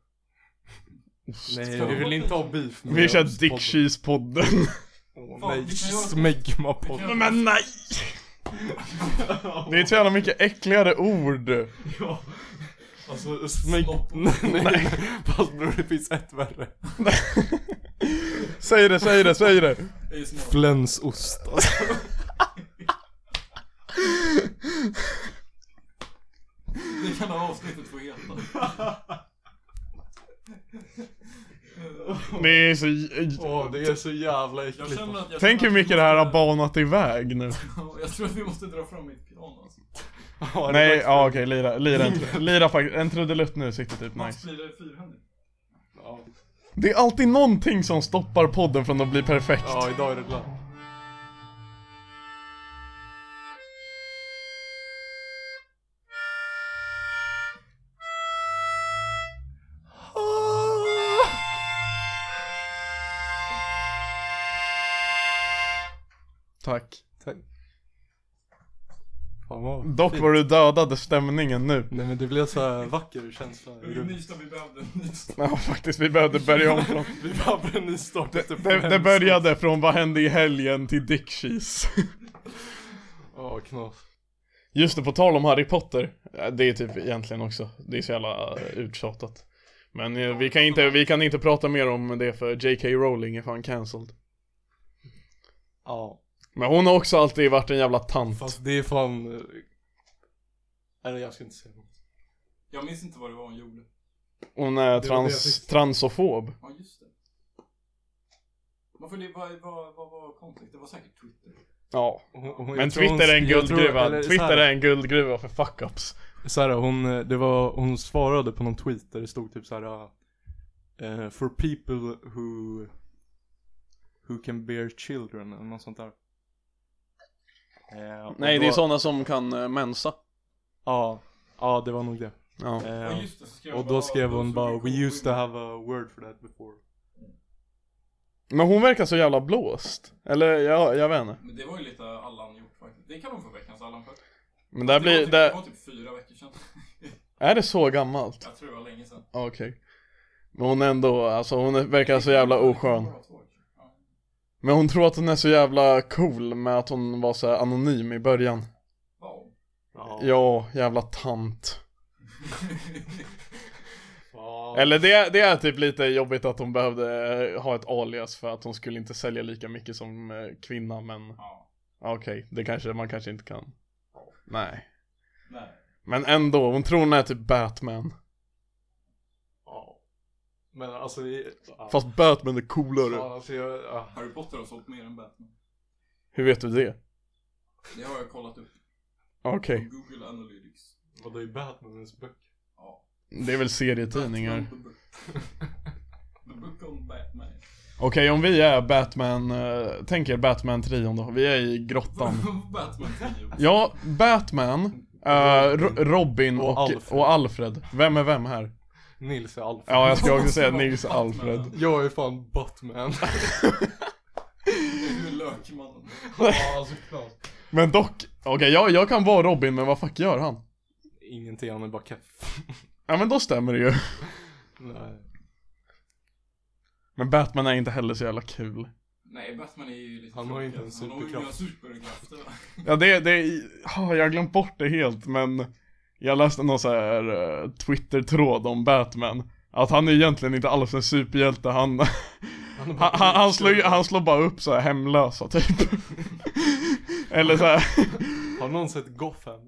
Speaker 2: Nej vi vill inte ha beef med
Speaker 3: Vi kör
Speaker 2: ostpodden.
Speaker 3: Dick Cheese-podden
Speaker 2: Åh,
Speaker 4: Fan,
Speaker 2: Nej,
Speaker 4: vi kan göra-
Speaker 2: smegmapodden.
Speaker 4: vi
Speaker 3: Men nej! Det är så jävla mycket äckligare ord
Speaker 2: Ja. Alltså smeg...
Speaker 4: Slopp.
Speaker 2: Nej, nej, nej. Fast bror det finns ett värre.
Speaker 3: Säg det, säg det, säg det!
Speaker 4: Det är ju smart.
Speaker 2: Flänsost. Alltså.
Speaker 4: Det kan ha avsnittet få heta.
Speaker 3: Det är så... j-
Speaker 2: Åh, det är så jävla äckligt.
Speaker 4: Jag känner att jag
Speaker 3: Tänk
Speaker 4: känner
Speaker 3: hur
Speaker 4: att
Speaker 3: mycket
Speaker 4: vi
Speaker 3: det här har
Speaker 4: måste-
Speaker 3: banat iväg nu
Speaker 4: Ja, Jag tror att vi måste dra fram mitt piano alltså.
Speaker 2: Ja, det
Speaker 3: Nej,
Speaker 2: är dags
Speaker 3: ja okej, lira, lira, en tr- lira faktiskt, en trudelutt nu sitter typ
Speaker 4: Mats
Speaker 3: nice
Speaker 4: blir det fyrhändigt.
Speaker 2: för- Ja.
Speaker 3: Det är alltid någonting som stoppar podden från att bli perfekt
Speaker 2: ja, idag är det glatt.
Speaker 3: Tack
Speaker 2: Tack. Fan vad
Speaker 3: Dock
Speaker 2: fint.
Speaker 3: var du dödade stämningen nu
Speaker 2: Nej men det blev så här vacker känsla i
Speaker 4: Det var ju
Speaker 2: rummet.
Speaker 4: nysta vi behövde. Nysta.
Speaker 3: Ja faktiskt, vi behövde börja om från
Speaker 2: Vi behöver en ny start efter
Speaker 3: det, det, det började från vad hände i helgen till Dick Cheese
Speaker 2: Ja, knas.
Speaker 3: Just det, på tal om Harry Potter eh, Det är typ egentligen också, det är så jävla eh, uttjatat Men eh, vi kan inte, vi kan inte prata mer om det för J.K. Rowling är fan cancelled
Speaker 2: Ja.
Speaker 3: Men hon har också alltid varit en jävla tant
Speaker 2: Fast det är fan... eh, Eller jag ska inte säga något.
Speaker 4: Jag minns inte vad det var hon gjorde.
Speaker 3: Hon är
Speaker 2: Det var det jag
Speaker 3: trans,
Speaker 2: tyckte.
Speaker 3: transofob
Speaker 4: Ja, just det. Varför det? Vad var, var, var konstigt? Det var säkert Twitter.
Speaker 3: Ja
Speaker 2: Hon- hon-
Speaker 3: Men
Speaker 2: jag tror hon-
Speaker 3: Twitter är en
Speaker 2: jag tror-
Speaker 3: guldgruva,
Speaker 2: eller så här-
Speaker 3: Twitter är en guldgruva för fuck-ups
Speaker 2: Så här, hon, eh, det var, hon svarade på någon tweet där det stod typ så här. eh, for people who who can bear children eller något sånt där. Eh, och
Speaker 3: Nej
Speaker 2: då-
Speaker 3: det är sådana som kan eh, mensa
Speaker 2: Ja, ja det var nog det.
Speaker 3: Ja
Speaker 2: Eh,
Speaker 4: Ja, just det. Så skrev
Speaker 2: och
Speaker 4: hon
Speaker 2: då skrev
Speaker 4: "Those
Speaker 2: hon
Speaker 4: who
Speaker 2: bara
Speaker 4: recall
Speaker 2: We used to
Speaker 4: women."
Speaker 2: have a word for that before.
Speaker 3: Men hon verkar så jävla blåst Eller jag, jag vet inte
Speaker 4: Men det var ju lite Allan gjort faktiskt. Det kan hon få veckans Allan för.
Speaker 3: Men
Speaker 4: Det, var
Speaker 3: där blir,
Speaker 4: typ, det
Speaker 3: där,
Speaker 4: var typ fyra veckor sedan.
Speaker 3: är det så gammalt?
Speaker 4: Jag tror det var länge sedan.
Speaker 3: Ja, Okej Men hon är ändå, alltså hon är- verkar så jävla oskön
Speaker 4: Ja.
Speaker 3: Men hon tror att hon är så jävla cool med att hon var så här anonym i början
Speaker 4: Wow.
Speaker 2: Ja.
Speaker 3: Ja, jävla tant
Speaker 2: ja.
Speaker 3: Eller det, det är typ lite jobbigt att hon behövde eh, ha ett alias för att hon skulle inte sälja lika mycket som eh, kvinna men
Speaker 4: ja.
Speaker 3: ja, okej, det kanske man kanske inte kan. Nej.
Speaker 4: Nej.
Speaker 3: Men ändå, hon tror hon är typ Batman.
Speaker 2: Ja. Men alltså vi... ja.
Speaker 3: Fast Batman är
Speaker 2: Fan,
Speaker 3: coolare.
Speaker 2: alltså, jag, ja.
Speaker 4: Harry Potter har sålt mer än Batman.
Speaker 3: Hur vet du det?
Speaker 4: Det har jag kollat upp.
Speaker 3: Okej,
Speaker 4: på Google Analytics.
Speaker 2: Vadå i Batmanens böcker?
Speaker 4: Ja.
Speaker 3: det är väl serietidningar.
Speaker 4: Batman, The Book. The Book on Batman.
Speaker 3: Okej, om vi är Batman, eh, tänk er Batman-trion då. Vi är i grottan.
Speaker 4: Batman 10.
Speaker 3: Ja, Batman, eh, Ro- Robin och,
Speaker 2: Och
Speaker 3: och,
Speaker 2: Alfred.
Speaker 3: Alfred. Vem är vem här?
Speaker 2: Nils är Alfred.
Speaker 3: Ja, jag ska också säga Nils Alfred.
Speaker 2: Jag är fan Batman.
Speaker 4: Du är lökmannen.
Speaker 2: ja, såklart.
Speaker 3: Men dock, okej jag, jag kan vara Robin men vad fuck gör han?
Speaker 2: Ingenting, han är bara keff.
Speaker 3: Ja men då stämmer det ju.
Speaker 2: Nej.
Speaker 3: Men Batman är inte heller så jävla kul.
Speaker 4: Nej, Batman är ju lite
Speaker 2: Han har ju inte en
Speaker 4: tråkig. Han har ju inga
Speaker 2: superkraft.
Speaker 4: superkrafter. va?
Speaker 3: Ja det, det, ah, jag har glömt bort det helt men jag läste någon så här eh, Twitter-tråd om Batman. Att han är egentligen inte alls en superhjälte, han,
Speaker 2: Han är bara
Speaker 3: han, han, han, slår, ju- han slår bara upp så här hemlösa typ. Eller så här.
Speaker 2: Har någon sett Gotham?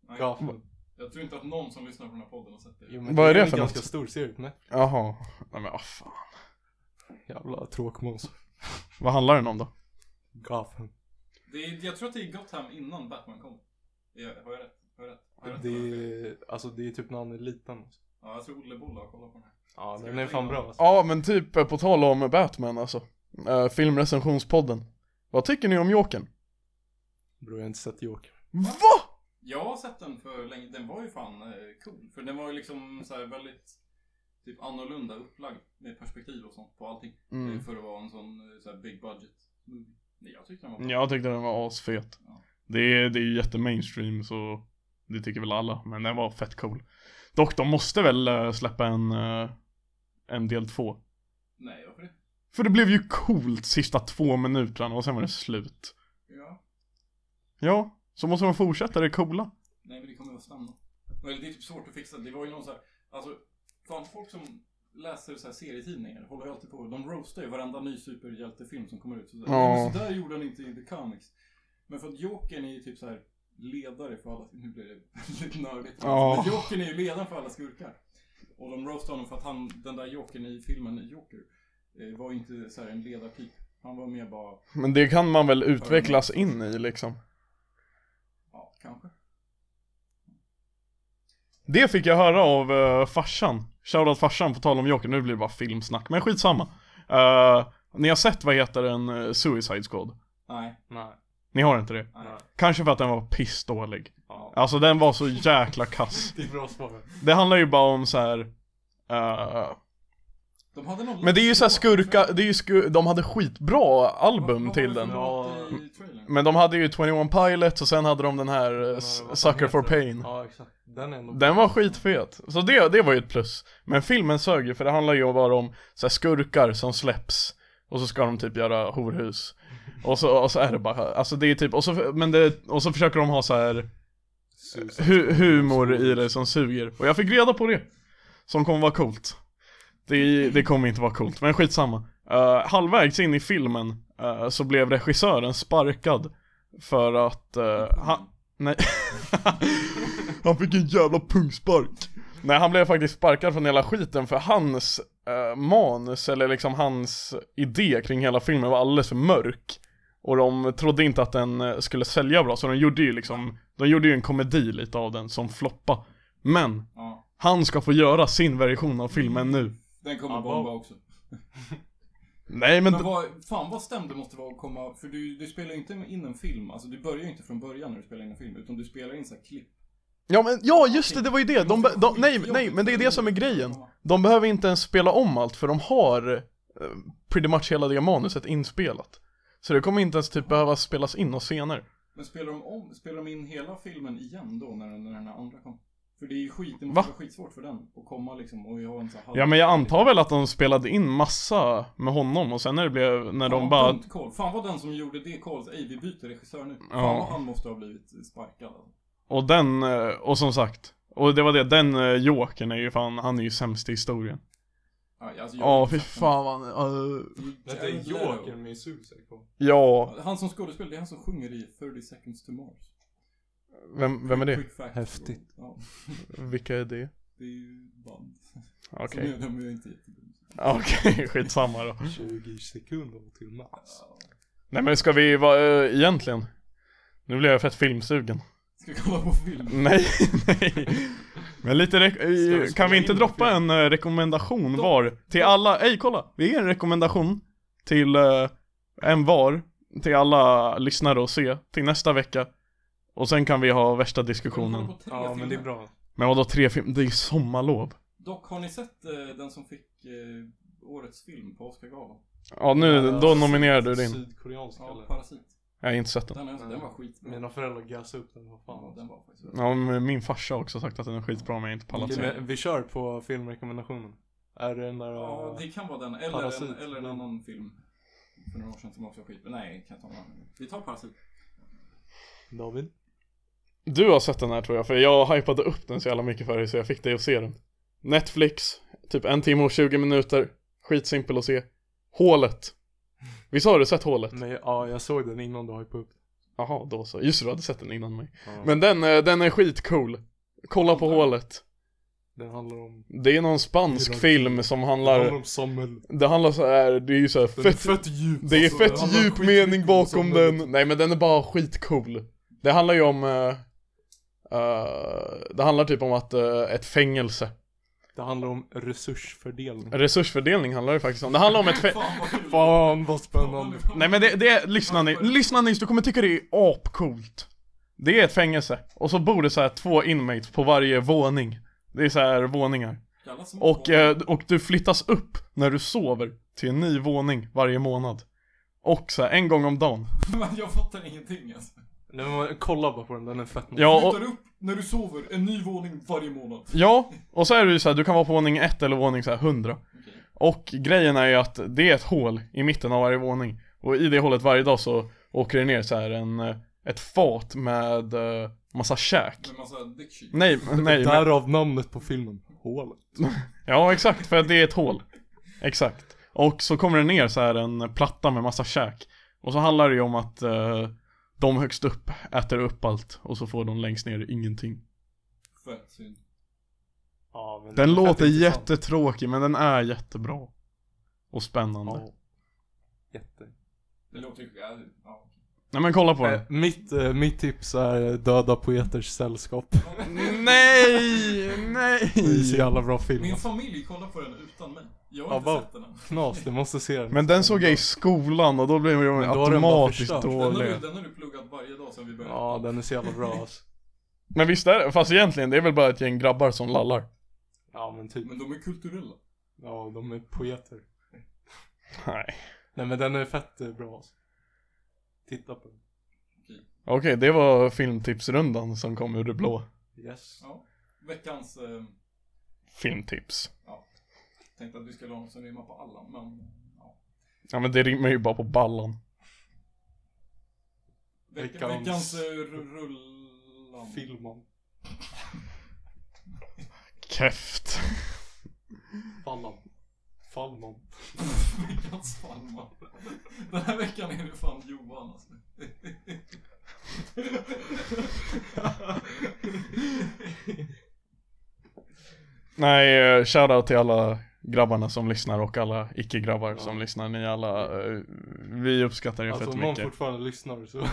Speaker 4: Nej,
Speaker 2: Gotham.
Speaker 4: Jag tror inte att någon som lyssnar på den här podden har sett det.
Speaker 2: Jo, men
Speaker 3: Vad är det
Speaker 2: en
Speaker 3: för
Speaker 2: ganska
Speaker 3: något?
Speaker 2: stor serie med
Speaker 3: Jaha, nej men vad fan.
Speaker 2: jävla tråkmåns.
Speaker 3: Vad handlar den om då?
Speaker 2: Gotham.
Speaker 4: det är, jag tror att det är Gotham innan Batman kom. Det gör- Har jag rätt? Har jag rätt? Har jag rätt?
Speaker 2: Det är, alltså det är typ när han är liten.
Speaker 4: Ja, jag tror Olle Boll har kollat på den här.
Speaker 2: Ja,
Speaker 4: Ska
Speaker 2: den
Speaker 4: vi
Speaker 2: är
Speaker 4: ta
Speaker 2: fan
Speaker 4: in
Speaker 2: bra
Speaker 4: honom?
Speaker 2: alltså.
Speaker 3: Ja men typ eh, på tal om Batman alltså. Eh, filmrecensionspodden. Vad tycker ni om Jokern?
Speaker 2: Bror, jag har inte sett Joker.
Speaker 3: VA?
Speaker 4: Jag har sett den för länge, den var ju fan eh, cool. För den var ju liksom så här väldigt typ annorlunda upplagd med perspektiv och sånt på allting.
Speaker 3: Mm.
Speaker 4: Eh, För att vara en sån eh, så här big budget movie. Nej, jag tyckte den var bra.
Speaker 3: Jag tyckte den var asfet.
Speaker 4: Ja.
Speaker 3: Det är, det är ju jättemainstream så det tycker väl alla, men den var fett cool. Dock, de måste väl eh, släppa en, eh, en del två.
Speaker 4: Nej, varför det?
Speaker 3: För det blev ju coolt sista två minuterna och sen var det slut.
Speaker 4: Ja.
Speaker 3: Ja, så måste man fortsätta det coola.
Speaker 4: Nej, men det kommer ju att stanna. Eller det är typ svårt att fixa. Det var ju någon så här, alltså, fan folk som läser så här serietidningar håller ju alltid på. De roastar ju varenda ny superhjältefilm som kommer ut. Så där,
Speaker 3: Ja.
Speaker 4: men så där gjorde han inte i The Comics. Men för att Jokern är ju typ så här ledare för alla, nu blir det väldigt nördigt.
Speaker 3: Ja.
Speaker 4: Men Jokern är ju ledaren för alla skurkar. Och de roastar honom för att han, den där Jokern i filmen Joker, eh, var ju inte så här en ledartyp. Han var mer bara,
Speaker 3: Men det kan man väl utvecklas in i liksom.
Speaker 4: ja, kanske.
Speaker 3: Det fick jag höra av uh, farsan. Shoutout farsan på tal om Joker, nu blir det bara filmsnack, men skitsamma. Uh, ni har sett vad heter den, eh, Suicide Squad?
Speaker 4: Nej,
Speaker 2: Nej.
Speaker 3: Ni har inte det?
Speaker 4: nej.
Speaker 3: Kanske för att den var pissdålig.
Speaker 2: Ja.
Speaker 3: Alltså den var så jäkla kass.
Speaker 2: Det är bra svar.
Speaker 3: Det handlar ju bara om så här. eh,
Speaker 4: De hade någon
Speaker 3: men det är ju så här
Speaker 4: låt-
Speaker 3: skurka, det är ju sku, de hade skitbra album till den.
Speaker 2: Ja.
Speaker 3: Men de hade ju 21 Pilots och sen hade de den här eh, S-
Speaker 2: Men vad fan
Speaker 3: Sucker for
Speaker 2: heter den?
Speaker 3: Pain.
Speaker 2: Ja, exakt. Den är ändå
Speaker 3: Den var skitfet. Så det, det var ju ett plus. Men filmen sög ju för det handlar ju bara om så här, skurkar som släpps. Och så ska de typ göra horhus. Och så, och så är det bara, alltså det är typ, och så, men det, och så försöker de ha så här
Speaker 2: Suicide
Speaker 3: hu humor i det som suger. Och jag fick reda på det. Som kommer vara coolt. Det, det kommer inte vara coolt, men skitsamma. Uh, halvvägs in i filmen eh, så blev regissören sparkad. För att eh, han, nej. han fick en jävla pungspark. Nej, han blev faktiskt sparkad från hela skiten för hans eh, manus, eller liksom hans idé kring hela filmen var alldeles för mörk. Och de trodde inte att den eh, skulle sälja bra, så de gjorde ju liksom, de gjorde ju en komedi lite av den som floppa. Men,
Speaker 4: Ja.
Speaker 3: han ska få göra sin version av filmen nu.
Speaker 4: Den kommer
Speaker 2: Ja,
Speaker 4: bomba
Speaker 2: vad-
Speaker 4: också.
Speaker 3: Nej men,
Speaker 4: Men
Speaker 3: d-
Speaker 4: vad, fan vad stämd du måste vara att komma, för du, du spelar ju inte in en film, alltså du börjar ju inte från början när du spelar in en film, utan du spelar in så här klipp. Alltså,
Speaker 3: ja men, ja just det, det var ju det. De, be- de, nej, nej, men det är det som är grejen. De behöver inte ens spela om allt för de har eh, pretty much hela det manuset inspelat. Så det kommer inte ens typ behöva spelas in några scener.
Speaker 4: Men spelar de, om, spelar de in hela filmen igen då när den, när den här andra kom? För det är ju skit, det måste
Speaker 3: Va?
Speaker 4: vara skitsvårt för den att komma liksom och göra en så här halv-
Speaker 3: Ja men jag antar väl att de spelade in massa med honom och sen när det blev, när de
Speaker 4: Fan,
Speaker 3: bara,
Speaker 4: dumt call. Fan vad den som gjorde det callet, ej vi byter regissör nu. Fan
Speaker 3: Ja.
Speaker 4: vad han måste ha blivit sparkad. alltså.
Speaker 3: och den, eh, och som sagt. Och det var det, den eh, jokern är ju fan, han är ju sämst i historien.
Speaker 4: Ja, alltså, jag-
Speaker 3: Ja fy fan vad han, eh,
Speaker 2: Det är Joker med Suicide Squad.
Speaker 3: ja,
Speaker 4: Han som skådespelare, det är han som sjunger i 30 seconds to Mars.
Speaker 3: vem, vem är det?
Speaker 4: Quick fact.
Speaker 2: Häftigt.
Speaker 4: Ja,
Speaker 3: Vilka är det?
Speaker 4: det är ju band. Så
Speaker 3: Okej,
Speaker 4: nu är de ju inte jättebra.
Speaker 3: okej, skitsamma då.
Speaker 2: 20 sekunder till max.
Speaker 3: Nej men ska vi vara, eh, egentligen? Nu blir jag fett filmsugen.
Speaker 4: Ska jag kolla på film?
Speaker 3: Nej, nej. Men lite
Speaker 4: Ska
Speaker 3: re-
Speaker 4: vi
Speaker 3: kan vi inte
Speaker 4: in
Speaker 3: droppa
Speaker 4: film?
Speaker 3: en eh, rekommendation
Speaker 4: Då-
Speaker 3: var till alla, ej kolla, vi ger en rekommendation till eh, en var till alla lyssnare och se till nästa vecka. Och sen kan vi ha värsta diskussionen.
Speaker 4: Kolla på tre
Speaker 2: Ja men det är
Speaker 4: filmer.
Speaker 2: bra.
Speaker 3: Men vadå tre film? Det är sommarlov.
Speaker 4: Dock, har ni sett eh, den som fick eh, årets film på Oscarsgalan?
Speaker 3: Ja nu, då
Speaker 2: Ja,
Speaker 3: nominerar du
Speaker 2: syd-
Speaker 3: din.
Speaker 2: Sydkoreansk
Speaker 4: Ja,
Speaker 2: eller?
Speaker 4: Parasit.
Speaker 3: Jag har inte sett den.
Speaker 4: Den, har jag sett. den var skitbra.
Speaker 2: Mina föräldrar gassade upp den, vad
Speaker 4: Ja,
Speaker 2: fan.
Speaker 4: den var faktiskt bra.
Speaker 3: Ja, men min farsa har också sagt att den är skitbra men jag har inte pallat
Speaker 2: Okej,
Speaker 3: se.
Speaker 2: men vi kör på filmrekommendationen. Är det den där... eh,
Speaker 4: Ja, Mm. det kan vara den. Eller,
Speaker 2: Parasit.
Speaker 4: en, eller en annan film. För några år sedan som också var skitbra. Nej, kan jag ta någon annan. Vi tar Parasit.
Speaker 2: David?
Speaker 3: Du har sett den här tror jag, för jag hypade upp den så jävla mycket för dig så jag fick dig att se den Netflix, typ en timme och 20 minuter Skitsimpel att se Hålet Visst har du sett Hålet?
Speaker 2: Nej, ja jag såg den innan du hypade upp
Speaker 3: Jaha, då så. Just det, du hade sett den innan mig
Speaker 2: ja.
Speaker 3: Men den, eh, den är skitcool Kolla på Hålet
Speaker 2: Den handlar om...
Speaker 3: Det är någon spansk
Speaker 2: Irak.
Speaker 3: film som
Speaker 2: Den handlar
Speaker 3: handlar
Speaker 2: om Samuel.
Speaker 3: Det handlar så här, det är ju så här
Speaker 2: Den
Speaker 3: fett
Speaker 2: är fett djup.
Speaker 3: Det är
Speaker 2: alltså. Den
Speaker 3: fett
Speaker 2: handlar
Speaker 3: djup
Speaker 2: skitmycket
Speaker 3: mening
Speaker 2: om
Speaker 3: bakom
Speaker 2: samhället.
Speaker 3: den, nej men den är bara skitcool Det handlar ju om, eh, eh, det handlar typ om att eh, ett fängelse
Speaker 2: Det handlar om resursfördelning.
Speaker 3: Resursfördelning handlar det faktiskt om, det handlar om ett fängelse
Speaker 4: Fan vad
Speaker 2: Fan
Speaker 4: kul!
Speaker 2: vad
Speaker 4: Fan, vad
Speaker 2: spännande.
Speaker 4: kul.
Speaker 3: Nej men det, det är, lyssna ni, lyssna ni, du kommer tycka det är apcoolt Det är ett fängelse, och så bor det så här två inmates på varje våning Det är så här våningar
Speaker 4: Jävla små
Speaker 3: Och, eh, och du flyttas upp när du sover till en ny våning varje månad Och så här, en gång om dagen
Speaker 4: Men jag fattar ingenting alltså.
Speaker 2: Nej, men kolla bara på den, den är fett nice.
Speaker 3: Ja, och,
Speaker 4: Flyttar upp när du sover, en ny våning varje månad.
Speaker 3: Ja, och så är det ju så här, du kan vara på våning 1 eller våning så här 100
Speaker 4: Okej.
Speaker 3: Och grejen är ju att det är ett hål i mitten av varje våning Och i det hålet varje dag så åker det ner så här en, eh, ett fat med eh, massa käk
Speaker 4: Med massa dick Nej.
Speaker 3: Nej, men- nej, men,
Speaker 2: Därav namnet på filmen, Hålet.
Speaker 3: ja exakt för att det är ett hål Exakt Och så kommer det ner så här en platta med massa käk Och så handlar det ju om att eh, de högst upp äter upp allt och så får de längst ner ingenting
Speaker 4: Fett synd.
Speaker 2: Ja, men
Speaker 3: Den
Speaker 2: det är fett
Speaker 3: låter
Speaker 2: intressant.
Speaker 3: jättetråkig men den är jättebra Och spännande
Speaker 2: Ja. Jätte.
Speaker 4: Det låter ju... Ja, ja.
Speaker 3: Nej men kolla på
Speaker 2: Eh,
Speaker 3: den
Speaker 2: mitt, eh, mitt tips är eh, Döda Poeters Sällskap.
Speaker 3: Nej, nej
Speaker 2: Det är så jävla bra film.
Speaker 4: Min familj kollar på den utan mig. Jag har
Speaker 2: Ja,
Speaker 4: inte
Speaker 2: vad-
Speaker 4: sett den än.
Speaker 2: Knas, du måste se den.
Speaker 3: Men den såg jag i skolan och då blev jag
Speaker 2: Men då har den bara
Speaker 3: automatiskt
Speaker 2: förstört.
Speaker 4: Den har,
Speaker 3: dålig
Speaker 4: du, den har du pluggat varje dag sedan vi började.
Speaker 2: Ja, den är så jävla bra alltså.
Speaker 3: Men visst är det, fast egentligen det är väl bara ett gäng grabbar som lallar
Speaker 2: Ja men typ.
Speaker 4: Men de är kulturella.
Speaker 2: Ja, de är poeter.
Speaker 3: Nej
Speaker 2: Nej men den är fett eh, bra alltså. Titta på den.
Speaker 3: Okej, det var filmtipsrundan som kom ur det blå
Speaker 2: Yes.
Speaker 4: Ja. Veckans... Eh,
Speaker 3: Filmtips
Speaker 4: tänkte att vi skulle ha något som rimmar på alla, men... Ja.
Speaker 3: Ja men det rimmar ju bara på ballan
Speaker 4: Veck,
Speaker 2: Veckans-
Speaker 4: veckans... Veckans eh, ru- rullan.
Speaker 2: Filman.
Speaker 3: Keft
Speaker 2: Fallan. Fallman.
Speaker 4: veckans Falman. Den här veckan är det fan Johan alltså.
Speaker 3: Nej, eh, shoutout till alla grabbarna som lyssnar och alla icke-grabbar som lyssnar Ni alla, eh, vi uppskattar er
Speaker 2: Alltså
Speaker 3: fett
Speaker 2: om någon
Speaker 3: mycket
Speaker 2: fortfarande lyssnar så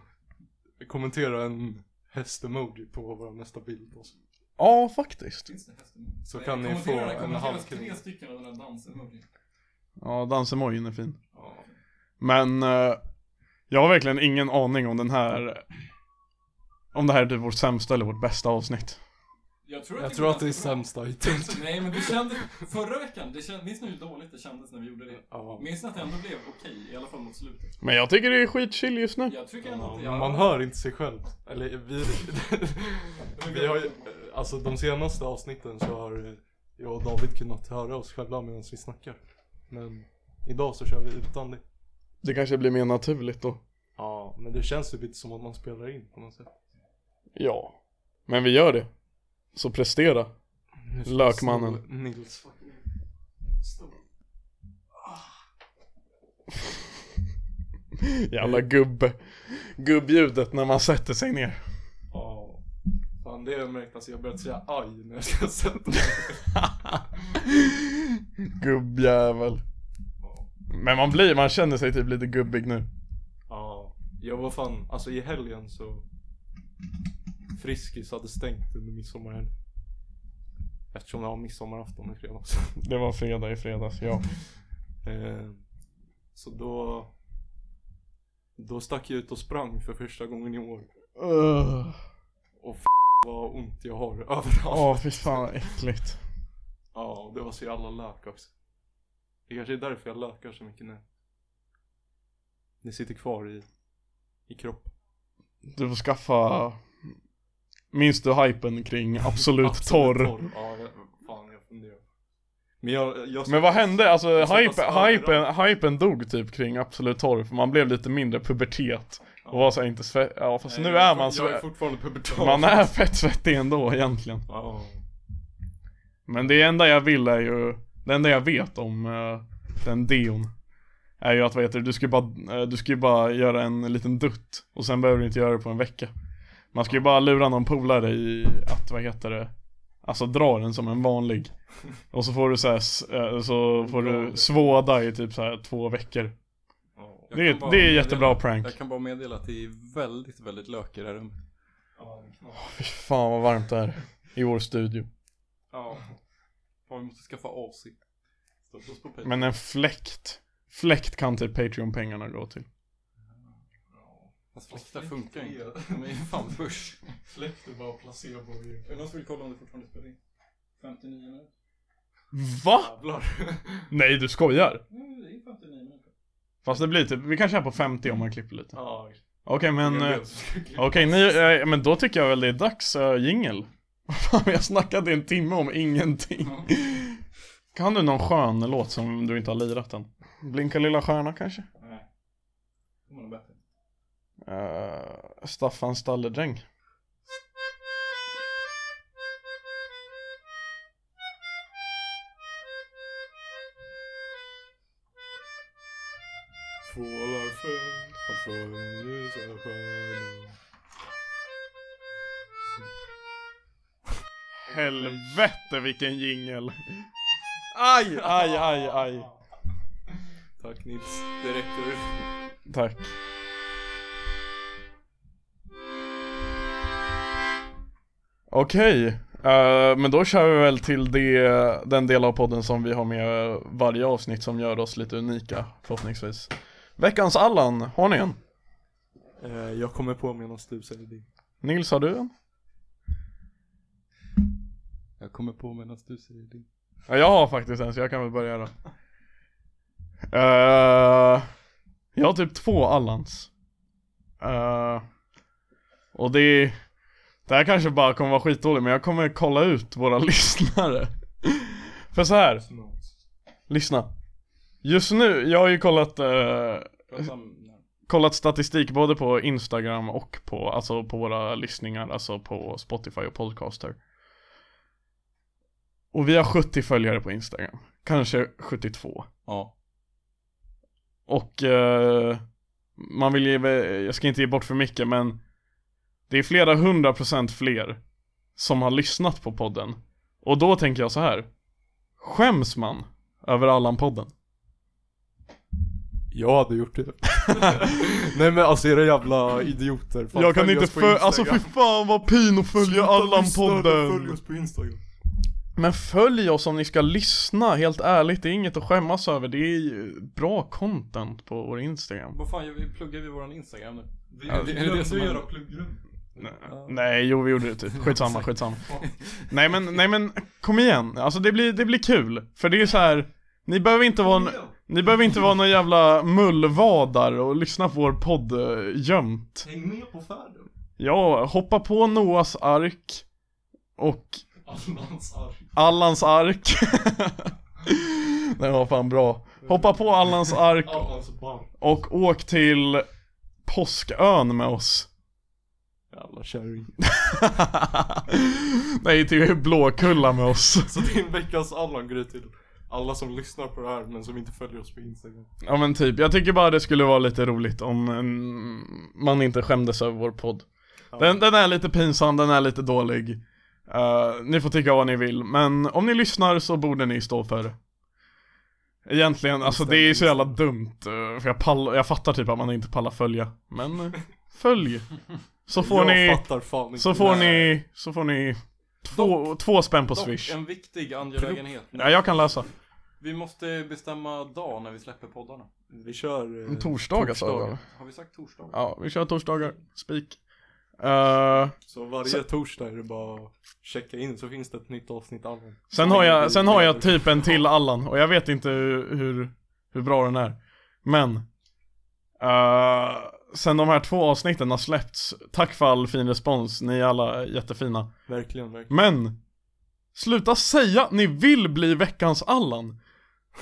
Speaker 2: kommentera en hästemoji på vår nästa bild också.
Speaker 3: Ja, faktiskt
Speaker 4: Finns det hästen?
Speaker 2: Så
Speaker 4: Nej,
Speaker 2: kan ni få
Speaker 4: kommentera,
Speaker 2: en
Speaker 4: kommentera
Speaker 2: halvkrona.
Speaker 4: tre stycken av den här dansen.
Speaker 3: Ja, dansemojin är fin
Speaker 4: Ja.
Speaker 3: Men eh, jag har verkligen ingen aning om den här Om det här är typ vårt sämsta eller vårt bästa avsnitt
Speaker 4: Jag tror att
Speaker 2: Jag
Speaker 4: det,
Speaker 2: tror
Speaker 4: går
Speaker 2: att det är
Speaker 4: ganska bra.
Speaker 2: sämsta hittills.
Speaker 4: Nej men det kändes, förra veckan, det känd, minns ni hur dåligt det kändes när vi gjorde det?
Speaker 2: Ja.
Speaker 4: Minns ni att det ändå blev okej, i alla fall mot slutet?
Speaker 3: Men jag tycker det är skitchill just nu
Speaker 4: Jag tycker ändå
Speaker 2: Ja,
Speaker 4: att
Speaker 2: men man hör inte sig själv. Eller vi... vi har ju, alltså de senaste avsnitten så har eh, jag och David kunnat höra oss själva medan vi snackar. Men idag så kör vi utan det.
Speaker 3: Det kanske blir mer naturligt då
Speaker 2: Ja, men det känns ju lite som att man spelar in på något sätt.
Speaker 3: Ja Men vi gör det Så prestera
Speaker 2: Nu ska
Speaker 3: Lökmannen.
Speaker 2: jag sno Nils fucking stol.
Speaker 3: Jävla gubb Gubbljudet när man sätter sig ner
Speaker 2: Ja. Fan det har jag märkt, alltså jag har börjat säga aj när jag ska sätta mig.
Speaker 3: Gubbjävel Men man blir, man känner sig typ lite gubbig nu
Speaker 2: Ja. Jag var fan, alltså i helgen så Friskis hade stängt under midsommarhelgen. Eftersom det var midsommarafton i fredags.
Speaker 3: Det var fredag i fredags, ja.
Speaker 2: Eh, så då... Då stack jag ut och sprang för första gången i år.
Speaker 3: Öh.
Speaker 2: Och f- vad ont jag har överallt.
Speaker 3: Åh fy fan vad äckligt.
Speaker 2: Ja, och det var så jävla lök också. Det kanske är därför jag lökar så mycket nu. Det sitter kvar i, i kroppen.
Speaker 3: Du får skaffa... Minns du hypen kring absolut, torr?
Speaker 2: Ja, jag, fan jag funderar. Men jag, jag
Speaker 3: Men vad hände? Alltså
Speaker 2: Jag
Speaker 3: hype,
Speaker 2: satt och
Speaker 3: hypen, hypen dog typ kring absolut torr, för man blev lite mindre pubertet. Och var så här inte svett... Ja fast
Speaker 2: Nej,
Speaker 3: nu
Speaker 2: jag fort-
Speaker 3: är man
Speaker 2: Jag är
Speaker 3: svett.
Speaker 2: fortfarande pubertal.
Speaker 3: Man är fett svettig ändå egentligen.
Speaker 2: Ja.
Speaker 3: Men det enda jag vill är ju, det enda jag vet om eh, den deon är ju att vad heter det, du ska ju bara, eh, du ska ju bara göra en liten dutt och sen behöver du inte göra det på en vecka. Man ska ju bara lura någon polare i att, vad heter det, alltså dra den som en vanlig. Och så får du så här, s- eh, så får du svåda i typ så här två veckor.
Speaker 2: Ja.
Speaker 4: Jag
Speaker 3: Det är-
Speaker 4: kan bara
Speaker 3: det är
Speaker 4: meddela-
Speaker 3: jättebra prank.
Speaker 4: Jag kan bara meddela att det är väldigt, väldigt lök i det här rummet.
Speaker 3: Fy fan vad varmt det är i vår studio.
Speaker 4: Ja. Fan, vi måste skaffa AC. Stötta oss på Patreon.
Speaker 3: Men en fläkt, fläkt kan typ Patreon-pengarna gå till.
Speaker 4: Fast fläktar funkar inte. De är ju fan börs. Släpp du bara placebo Är det någon som vill kolla om det fortfarande spelar in? 59 minuter.
Speaker 3: Va?
Speaker 4: Jävlar.
Speaker 3: Nej du skojar?
Speaker 4: Nej, det är 59 minuter.
Speaker 3: Fast det blir typ, vi kan köra på 50 om man klipper lite
Speaker 2: Ja.
Speaker 3: Okej men, eh,
Speaker 2: jag-
Speaker 3: okej ni, eh, men då tycker jag väl det är dags äh, jingel Fan vi har snackat i en timme om ingenting Kan du någon skön låt som du inte har lirat än? Blinka lilla stjärna kanske?
Speaker 4: Nej. Det var nog bättre.
Speaker 3: Eh, Staffan Stalledräng
Speaker 2: Fålar föll och från ljusa stjärnor.
Speaker 3: Helvete vilken jingel Aj, aj, aj, aj
Speaker 2: Tack Nils, det räcker.
Speaker 3: Tack Okej, eh, men då kör vi väl till det, den del av podden som vi har med varje avsnitt som gör oss lite unika förhoppningsvis Veckans Allan, har ni en?
Speaker 2: Eh, jag kommer på medan du säger din.
Speaker 3: Nils, har du en?
Speaker 4: Jag kommer på medan du säger din.
Speaker 3: Ja, jag har faktiskt en så jag kan väl börja då Eh, Jag har typ två Allans Eh, Och det är Det här kanske bara kommer vara skitdåligt men jag kommer kolla ut våra lyssnare För så här, lyssna Just nu, jag har ju kollat eh,
Speaker 4: Prata om när.
Speaker 3: kollat statistik både på Instagram och på, alltså på våra lyssningar, alltså på Spotify och Podcaster. Och vi har 70 följare på Instagram, kanske 72.
Speaker 4: Ja.
Speaker 3: Och eh, man vill ge, jag ska inte ge bort för mycket men det är flera hundra procent fler som har lyssnat på podden. Och då tänker jag så här. Skäms man över Allan-podden?
Speaker 2: Jag hade gjort det. Nej men alltså era jävla idioter. Fan,
Speaker 3: jag kan
Speaker 2: följ
Speaker 3: inte
Speaker 2: oss på
Speaker 3: följa,
Speaker 2: Instagram.
Speaker 3: alltså fy fan vad pin att följa
Speaker 2: Sluta lyssna och
Speaker 3: Allan-podden.
Speaker 2: Följ oss på Instagram.
Speaker 3: Men följ oss om ni ska lyssna, helt ärligt, det är inget att skämmas över, det är ju bra content på vår Instagram
Speaker 4: Vad fan gör vi? Pluggar vi våran Instagram nu? Vi,
Speaker 2: Ja,
Speaker 4: vi,
Speaker 2: vi
Speaker 4: är det det som
Speaker 2: glömde
Speaker 4: händer? Pluggrum.
Speaker 3: Nej, jo vi gjorde det typ, skitsamma, skitsamma Nej men, nej men, kom igen, alltså det blir, det blir kul, för det är så här. Ni behöver inte vara, en- ni behöver inte vara någon jävla mullvadar och lyssna på vår podd eh, gömt
Speaker 4: Häng med på färden.
Speaker 3: Ja, hoppa på Noahs ark och
Speaker 4: Allans ark.
Speaker 3: Allans ark Den var fan bra Hoppa på Allans ark
Speaker 2: alltså,
Speaker 4: Allans barn.
Speaker 3: Och åk till Påskön med oss
Speaker 2: Jävla kärring.
Speaker 3: Nej, till Blåkulla med oss
Speaker 2: Så din veckans Allan går ut till alla som lyssnar på det här men som inte följer oss på Instagram.
Speaker 3: Ja men typ, jag tycker bara det skulle vara lite roligt om mm, man inte skämdes över vår podd den, den är lite pinsam, den är lite dålig Eh, Ni får tycka vad ni vill, men om ni lyssnar så borde ni stå för det Egentligen, alltså det är så jävla dumt eh, För jag, pall, jag fattar typ att man inte pallar följa Men eh, följ Så får
Speaker 2: jag
Speaker 3: ni,
Speaker 2: fattar fan inte.
Speaker 3: så får ni, så får ni två, två spänn på swish.
Speaker 4: Dock, en viktig angelägenhet.
Speaker 3: Ja, jag kan läsa.
Speaker 4: Vi måste bestämma dag när vi släpper poddarna.
Speaker 2: Vi kör... eh,
Speaker 3: Torsdagar sa
Speaker 2: torsdagar.
Speaker 3: jag.
Speaker 4: Har vi sagt torsdag?
Speaker 3: Ja, vi kör torsdagar. Spik. Eh,
Speaker 2: Så varje
Speaker 3: Så-
Speaker 2: torsdag är det bara att checka in så finns det ett nytt avsnitt allmänt.
Speaker 3: sen, har jag, sen har jag typ en till Allan och jag vet inte hur, hur- hur bra den är. Men. eh, sen de här två avsnitten har släppts. Tack för all fin respons. Ni är alla jättefina.
Speaker 2: Verkligen, verkligen.
Speaker 3: Men! Sluta säga att ni vill bli veckans Allan!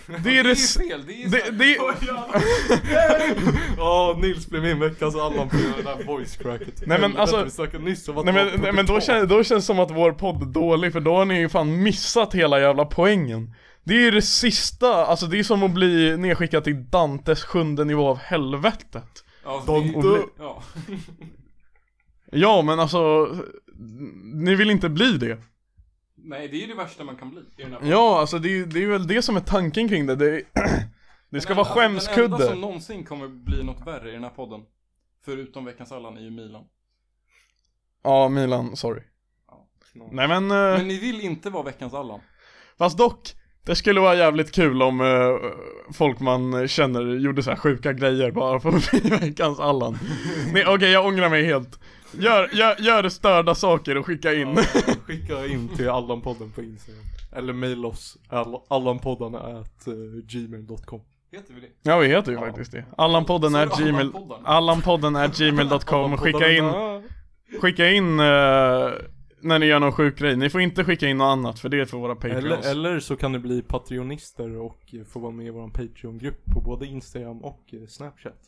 Speaker 3: Det är det...
Speaker 4: Det
Speaker 3: s-
Speaker 4: är fel, det är
Speaker 3: Det, det,
Speaker 2: Åh, Nils blev min veckans Allan på det där voice cracket.
Speaker 3: men
Speaker 2: Helvete,
Speaker 3: alltså-
Speaker 2: Vi snackade nyss om att
Speaker 3: nej
Speaker 2: det
Speaker 3: men,
Speaker 2: var
Speaker 3: nej, men då,
Speaker 2: protokoll.
Speaker 3: känns, då känns det som att vår podd är dålig för då har ni ju fan missat hela jävla poängen Det är ju det sista, alltså det är som att bli nedskickad till Dantes sjunde nivå av helvetet
Speaker 4: Ja,
Speaker 2: Don
Speaker 4: alltså, det-
Speaker 2: Olle.
Speaker 4: Ja.
Speaker 3: Ja men alltså, ni vill inte bli det
Speaker 4: Nej, det är ju det värsta man kan bli. i den här podden.
Speaker 3: Ja alltså det är, det är väl det som är tanken kring det, det, är, det ska
Speaker 4: Den
Speaker 3: vara
Speaker 4: enda- alltså, Den enda
Speaker 3: skämskudde
Speaker 4: som någonsin kommer bli något värre i den här podden, förutom veckans Allan, är ju Milan.
Speaker 3: Ja Milan, sorry Nej men, eh,
Speaker 4: Men ni vill inte vara veckans Allan.
Speaker 3: Fast dock, det skulle vara jävligt kul om eh, folk man känner gjorde så här sjuka grejer bara för att bli veckans Allan. Nej okej, jag ångrar mig helt. Gör, gör, gör störda saker och skicka in.
Speaker 2: Ja, Skicka in till Allan-podden på Instagram. Eller mail oss, all- allanpoddarna at eh, gmail.com.
Speaker 4: Heter vi det?
Speaker 3: Ja vi heter ju faktiskt det. Allanpodden är
Speaker 4: Så är det
Speaker 3: gmail...
Speaker 4: Allanpodden.
Speaker 3: Allanpodden är gmail.com. Skicka in, skicka in eh, när ni gör någon sjuk grej. Ni får inte skicka in något annat för det är för våra
Speaker 2: Eller,
Speaker 3: patreons.
Speaker 2: eller så kan ni bli patreonister och eh, få vara med i vår Patreon-grupp på både Instagram och eh, Snapchat.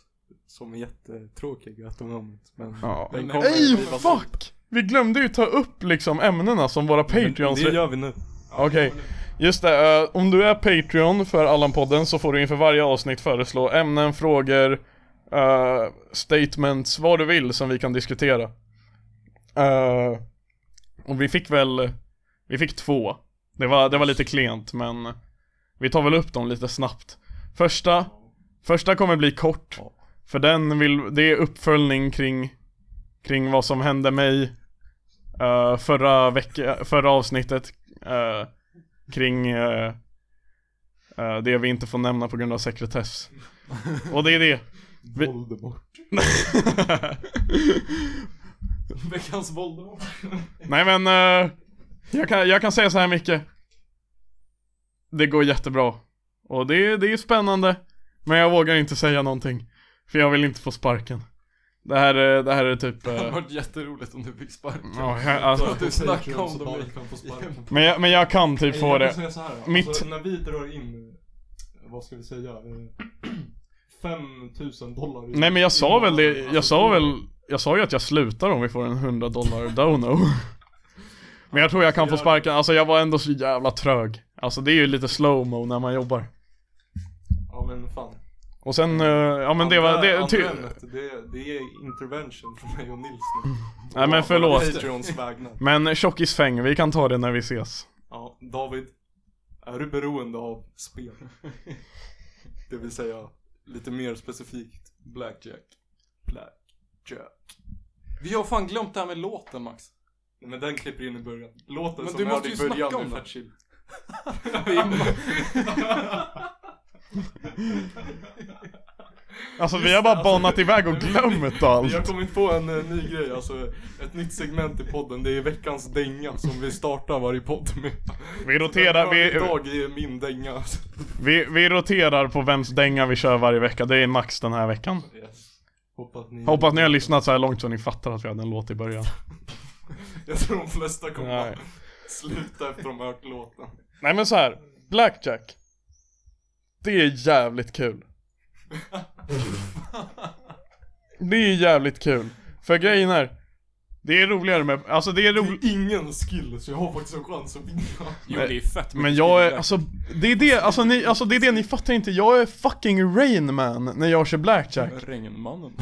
Speaker 2: Som är jättetråkig at the moment. Men
Speaker 3: Ja.
Speaker 2: den kommer
Speaker 3: Ej,
Speaker 2: drivas upp.
Speaker 3: fuck! Vi glömde ju ta upp liksom ämnena som våra
Speaker 2: Men
Speaker 3: patreons
Speaker 2: Det gör vi nu.
Speaker 3: Okej, just det. eh, om du är Patreon för Allan-podden så får du inför varje avsnitt föreslå ämnen, frågor, eh, statements, vad du vill som vi kan diskutera. Eh, och vi fick väl, vi fick två. Det var, det var lite klent men vi tar väl upp dem lite snabbt. Första, första kommer bli kort. För den vill, det är uppföljning kring, kring vad som hände mig eh, förra vecka, förra avsnittet eh, kring eh, eh, det vi inte får nämna på grund av sekretess. Och det är det. Vi-
Speaker 2: Voldemort.
Speaker 4: Veckans Voldemort.
Speaker 3: Nej men, eh, jag, kan, jag kan säga så här mycket. Det går jättebra. Och det, det är spännande. Men jag vågar inte säga någonting. För jag vill inte få sparken. Det här, är- det här är typ...
Speaker 4: Det hade
Speaker 3: eh,
Speaker 4: varit jätteroligt om du fick sparken.
Speaker 3: ja, jag, alltså,
Speaker 4: Du snackade om dem i-
Speaker 2: kan få sparken.
Speaker 3: men, jag, men jag kan typ
Speaker 2: Nej,
Speaker 3: få
Speaker 2: jag vill
Speaker 3: det.
Speaker 2: säga så här, då.
Speaker 3: Mitt-
Speaker 2: Alltså, när vi drar in, eh, vad ska vi säga, eh, 5000 dollar i-
Speaker 3: Nej men jag sa
Speaker 2: i-
Speaker 3: väl det,
Speaker 2: alltså,
Speaker 3: jag sa väl, jag sa ju att jag slutar om vi får en 100 dollar dono Men jag tror jag kan få sparken, alltså jag var ändå så jävla trög Alltså det är ju lite slowmo när man jobbar
Speaker 2: Ja men fan.
Speaker 3: Och sen, eh, ja men det var,
Speaker 2: Andra-
Speaker 3: det,
Speaker 2: andra
Speaker 3: ty,
Speaker 2: ämnet, det, det är intervention från mig och Nils nu.
Speaker 3: nej men förlåt
Speaker 2: Patreons vägnar.
Speaker 3: Men tjockisfäng, vi kan ta det när vi ses
Speaker 2: Ja, David. Är du beroende av spel? Det vill säga, lite mer specifikt,
Speaker 4: Blackjack.
Speaker 2: blackjack.
Speaker 4: Vi har fan glömt det här med låten Max.
Speaker 2: Men den klipper in i början. Låten
Speaker 4: Men
Speaker 2: som
Speaker 4: du
Speaker 2: jag hade
Speaker 4: måste
Speaker 2: i
Speaker 4: ju snacka
Speaker 2: början
Speaker 4: om
Speaker 2: med
Speaker 4: den.
Speaker 2: Fat Chill.
Speaker 4: Det är-
Speaker 3: Alltså vi har bara banat iväg och glömt allt
Speaker 2: Jag kommer inte på en eh, ny grej, alltså ett nytt segment i podden. Det är veckans dänga som vi startar varje podd med.
Speaker 3: Vi roterar, vi,
Speaker 2: Idag är min dänga.
Speaker 3: vi, vi roterar på vems dänga vi kör varje vecka, det är max den här veckan
Speaker 2: Yes. Hoppas ni...
Speaker 3: Hoppas ni har lyssnat så här långt så ni fattar att vi hade en låt i början
Speaker 2: Jag tror de flesta kommer
Speaker 3: Nej.
Speaker 2: att sluta efter de har hört låten.
Speaker 3: Nej men så här, Blackjack Det är jävligt kul Det är jävligt kul För grejen är Det är roligare med, alltså det är
Speaker 2: Det
Speaker 3: roligt
Speaker 2: är ingen skill, så jag har faktiskt en chans att vinna.
Speaker 4: Jo det är fett
Speaker 3: Men
Speaker 4: mycket
Speaker 3: jag är,
Speaker 4: spelare.
Speaker 3: alltså det är det, alltså ni, alltså det är det ni fattar inte Jag är fucking Rain Man när jag kör Blackjack
Speaker 4: Regnmannen.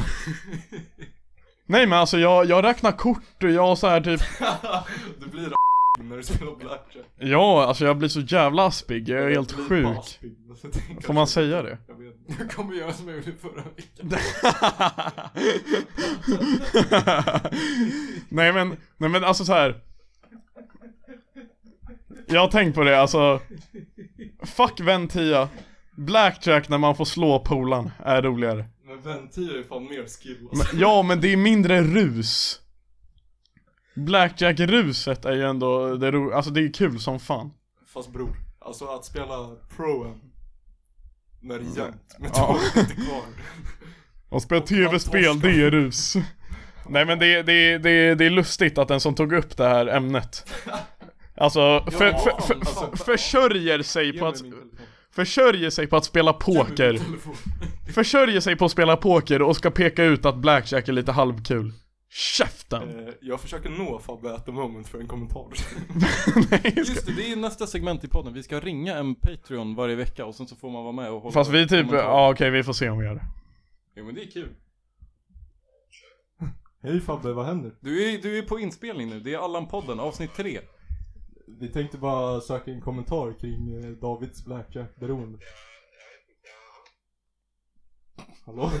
Speaker 3: Nej men alltså jag, jag räknar kort och jag så här typ
Speaker 2: Det blir
Speaker 4: när du spelar blackjack.
Speaker 3: Ja, alltså jag blir så jävla aspig, jag är helt
Speaker 4: blir
Speaker 3: sjuk.
Speaker 4: baspig, så tänker jag
Speaker 3: Får man
Speaker 4: så-
Speaker 3: säga det?
Speaker 4: Jag vet inte. Jag kommer göra som jag gjorde förra veckan.
Speaker 3: nej men, nej men alltså så här. Jag har tänkt på det alltså Fuck ventia Blackjack när man får slå polaren är roligare
Speaker 4: Men väntir är ju fan mer skill alltså.
Speaker 3: men, Ja men det är mindre rus Blackjack-ruset är ju ändå det ro- alltså det är kul som fan
Speaker 4: Fast bror, alltså att spela pro när det är jämnt med
Speaker 3: Ja.
Speaker 4: tåget inte kvar.
Speaker 3: Och spela tv-spel, det är rus Nej men det, det, det, det är lustigt att den som tog upp det här ämnet Alltså, för, för, för,
Speaker 4: alltså.
Speaker 3: försörjer sig
Speaker 4: Ge
Speaker 3: på
Speaker 4: mig
Speaker 3: att
Speaker 4: min telefon.
Speaker 3: Försörjer sig på att spela
Speaker 4: Ge mig
Speaker 3: poker
Speaker 4: min telefon.
Speaker 3: Försörjer sig på att spela poker och ska peka ut att blackjack är lite halvkul Käften!
Speaker 4: Eh, Jag försöker nå Fabbe at the moment för en kommentar.
Speaker 3: Nej, jag ska...
Speaker 4: Just det, det är nästa segment i podden. Vi ska ringa en Patreon varje vecka och sen så får man vara med och hålla
Speaker 3: Fast vi typ, ja okej vi får se om vi gör det
Speaker 4: Jo men det är kul.
Speaker 2: Hej Fabbe, vad händer?
Speaker 4: Du är, du är på inspelning nu, det är Allan-podden, avsnitt tre.
Speaker 2: Vi tänkte bara söka en kommentar kring eh, Davids blackjack-beroende. Hallå?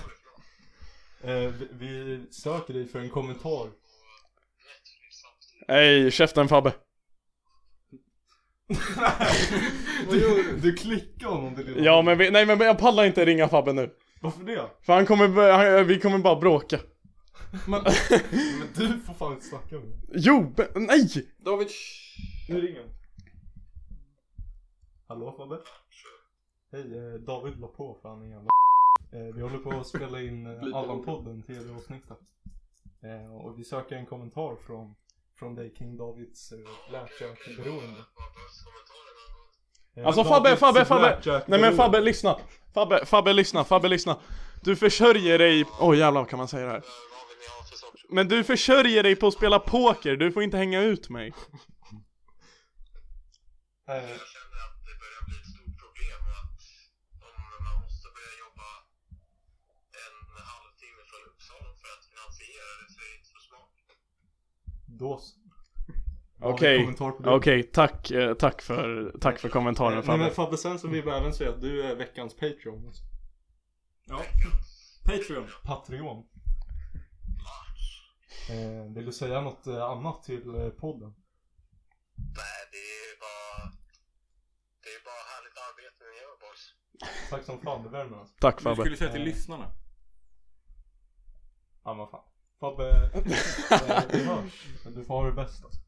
Speaker 2: Eh, vi, vi söker dig för en kommentar.
Speaker 3: Hej, käften Fabbe!
Speaker 2: Vad gör du? Du klickar honom det lilla.
Speaker 3: Ja men vi, nej men jag pallar inte ringa Fabbe nu
Speaker 2: Varför det?
Speaker 3: För han kommer, börja- han, vi kommer bara bråka
Speaker 2: Men, men du får fan inte snacka med honom.
Speaker 3: Jo, men- nej!
Speaker 4: David,
Speaker 2: Nu ringer han. Hallå Fabbe? Hej, eh, David la på för han är en jävla eh, Vi håller på att spela in eh, Allan-podden, tv-avsnittet. Eh, och vi söker en kommentar från, från dig kring Davids eh, blackjack-beroende. Eh,
Speaker 3: Alltså Fabbe,
Speaker 2: Davids
Speaker 3: Fabbe, Fabbe!
Speaker 2: blackjack-beroende.
Speaker 3: Nej men Fabbe, lyssna! Fabbe, Fabbe, lyssna, Fabbe, lyssna! Du försörjer dig... Oj jävlar, kan man säga det här? Men du försörjer dig på att spela poker, du får inte hänga ut mig
Speaker 2: Eh,
Speaker 6: känner att det börjar bli ett stort problem och att om man måste börja jobba en halvtimme från Uppsala för att finansiera det så är det inte så smart.
Speaker 2: då så.
Speaker 3: Okej.
Speaker 2: Ja, en kommentar på det.
Speaker 3: Okej, tack, eh, tack för, tack för kommentaren
Speaker 2: Nej men
Speaker 3: Fabbe
Speaker 2: Fabbe, sen så vill vi även säga att du är veckans Patreon. Alltså.
Speaker 4: Ja. Patreon.
Speaker 2: Patreon. Eh, vill du säga något eh, annat till eh, podden?
Speaker 6: Nej, det är bara... Det är bara härligt arbete ni gör boys.
Speaker 2: Tack som fan, det värmer alltså.
Speaker 3: Tack
Speaker 4: Du
Speaker 3: Fabbe
Speaker 4: skulle säga till lyssnarna.
Speaker 2: Ja men fan. Fabbe, eh, vi hörs. Men du får ha det bäst alltså.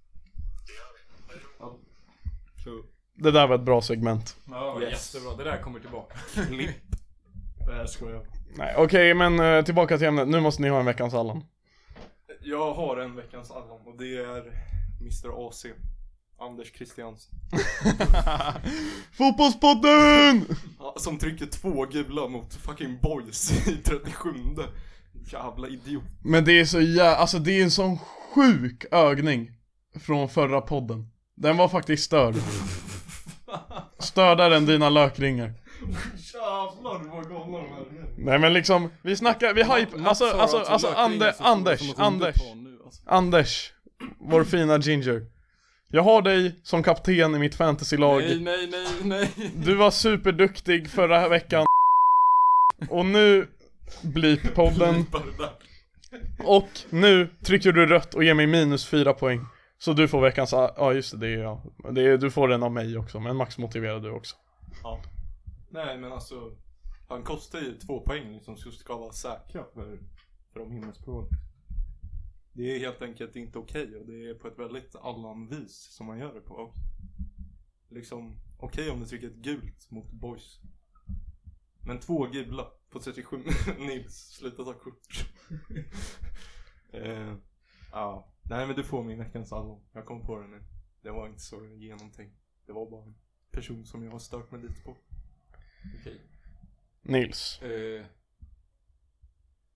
Speaker 3: Det där var ett bra segment
Speaker 4: Ja, jättebra. Det där kommer tillbaka.
Speaker 2: Nej skojar.
Speaker 3: Nej okej, men eh, tillbaka till ämnet, nu måste ni ha en veckans Allan
Speaker 2: Jag har en veckans Allan och det är Mr AC. Anders Christiansen.
Speaker 3: Fotbollspodden!
Speaker 2: Ja, Som trycker två gula mot fucking boys i 37. Jävla idiot.
Speaker 3: Men det är så jä... alltså det är en sån sjuk ögning Från förra podden Den var faktiskt störd Stördare än dina lökringar
Speaker 2: Jävlar vad galna de är.
Speaker 3: Nej men liksom, vi snackar, vi hype, alltså,
Speaker 4: Mats har
Speaker 3: alltså, alltså
Speaker 4: lökringar
Speaker 3: Ande,
Speaker 4: så stora som
Speaker 3: Anders,
Speaker 4: ett
Speaker 3: Anders
Speaker 4: underpå nu, alltså.
Speaker 3: Anders, vår fina ginger Jag har dig som kapten i mitt fantasylag
Speaker 4: Nej, nej, nej, nej.
Speaker 3: Du var superduktig förra veckan Och nu Blip-podden Och nu trycker du rött och ger mig minus fyra poäng Så du får veckans, ja just det, det är jag det är, Du får den av mig också, men max motiverar du också
Speaker 2: Nej men alltså, han kostar ju två poäng liksom så ska vara säkra för, för de himmelsproven. Det är helt enkelt inte okej och det är på ett väldigt Allan-vis som man gör det på. Och Liksom, okej om du trycker ett gult mot boys. Men två gula på 37 Nils, sluta ta kort. eh, ja, nej men du får min veckans Allan. Jag kom på det nu. Det var inte så genomtänkt. Det var bara en person som jag har stört mig lite på.
Speaker 4: Okej.
Speaker 3: Nils
Speaker 4: Eh,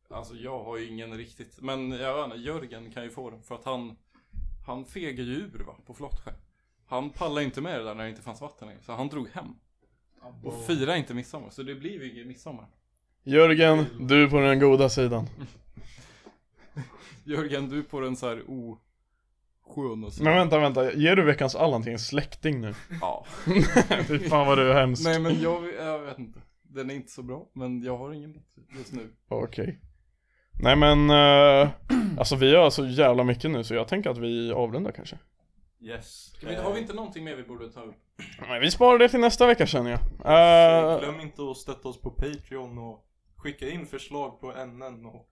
Speaker 4: alltså jag har ju ingen riktigt, men jag vet inte, Jörgen kan ju få den för att han, han fegar ju ur va, på Flottsjö. Han pallade inte med det där när det inte fanns vatten längre, så han drog hem. Och firade inte midsommar, så det blev ju ingen midsommar.
Speaker 3: Jörgen, du på den goda sidan
Speaker 4: Jörgen, du på den så här o...
Speaker 5: sjön och så.
Speaker 3: Men vänta, vänta, ger du veckans Allan till en släkting nu?
Speaker 5: Ja.
Speaker 3: Fy fan vad du är hemsk
Speaker 5: Nej men jag, jag vet inte. Den är inte så bra, men jag har ingen bättre just nu.
Speaker 3: Okej Nej men, eh, alltså vi gör så jävla mycket nu så jag tänker att vi avrundar kanske
Speaker 2: Yes.
Speaker 4: Kan vi, har vi inte någonting mer vi borde ta upp?
Speaker 3: Men vi sparar det till nästa vecka känner jag
Speaker 2: Så
Speaker 3: Eh,
Speaker 2: glöm inte att stötta oss på Patreon och skicka in förslag på ämnen och...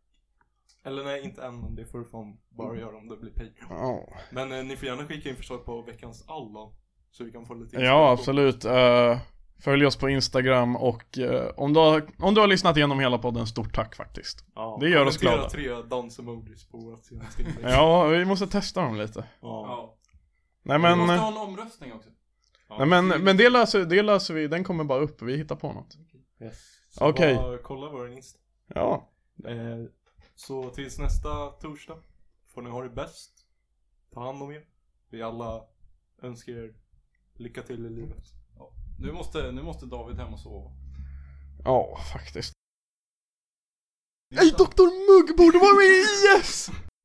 Speaker 2: Eller nej, inte ämnen, det får du fan bara göra om det blir Patreon.
Speaker 3: ja.
Speaker 2: Men eh, ni får gärna skicka in förslag på veckans Allan. Så vi kan få lite
Speaker 3: Ja, absolut. Eh, följ oss på Instagram och eh, om, du har, om du har lyssnat igenom hela podden, stort tack faktiskt.
Speaker 2: Ja,
Speaker 3: Det gör oss
Speaker 2: kommentera
Speaker 3: glada.
Speaker 2: tre dansemojis på vårt senaste inlägg.
Speaker 3: Ja, vi måste testa dem lite.
Speaker 2: ja.
Speaker 4: Ja.
Speaker 3: Nej
Speaker 4: Men... Vi
Speaker 3: men, eh,
Speaker 4: måste ha en omröstning också.
Speaker 3: nej, men, men det, löser, det löser vi, den kommer bara upp, vi hittar på något.
Speaker 2: Yes. Så
Speaker 3: Okej.
Speaker 2: bara kolla vår Insta.
Speaker 3: Ja,
Speaker 2: Eh, så tills nästa torsdag får ni ha det bäst. Ta hand om er. Vi alla önskar er lycka till i livet.
Speaker 4: Nu måste, nu måste David hem och sova.
Speaker 3: ja faktiskt. Nej, Dr Mugg borde vara med i IS!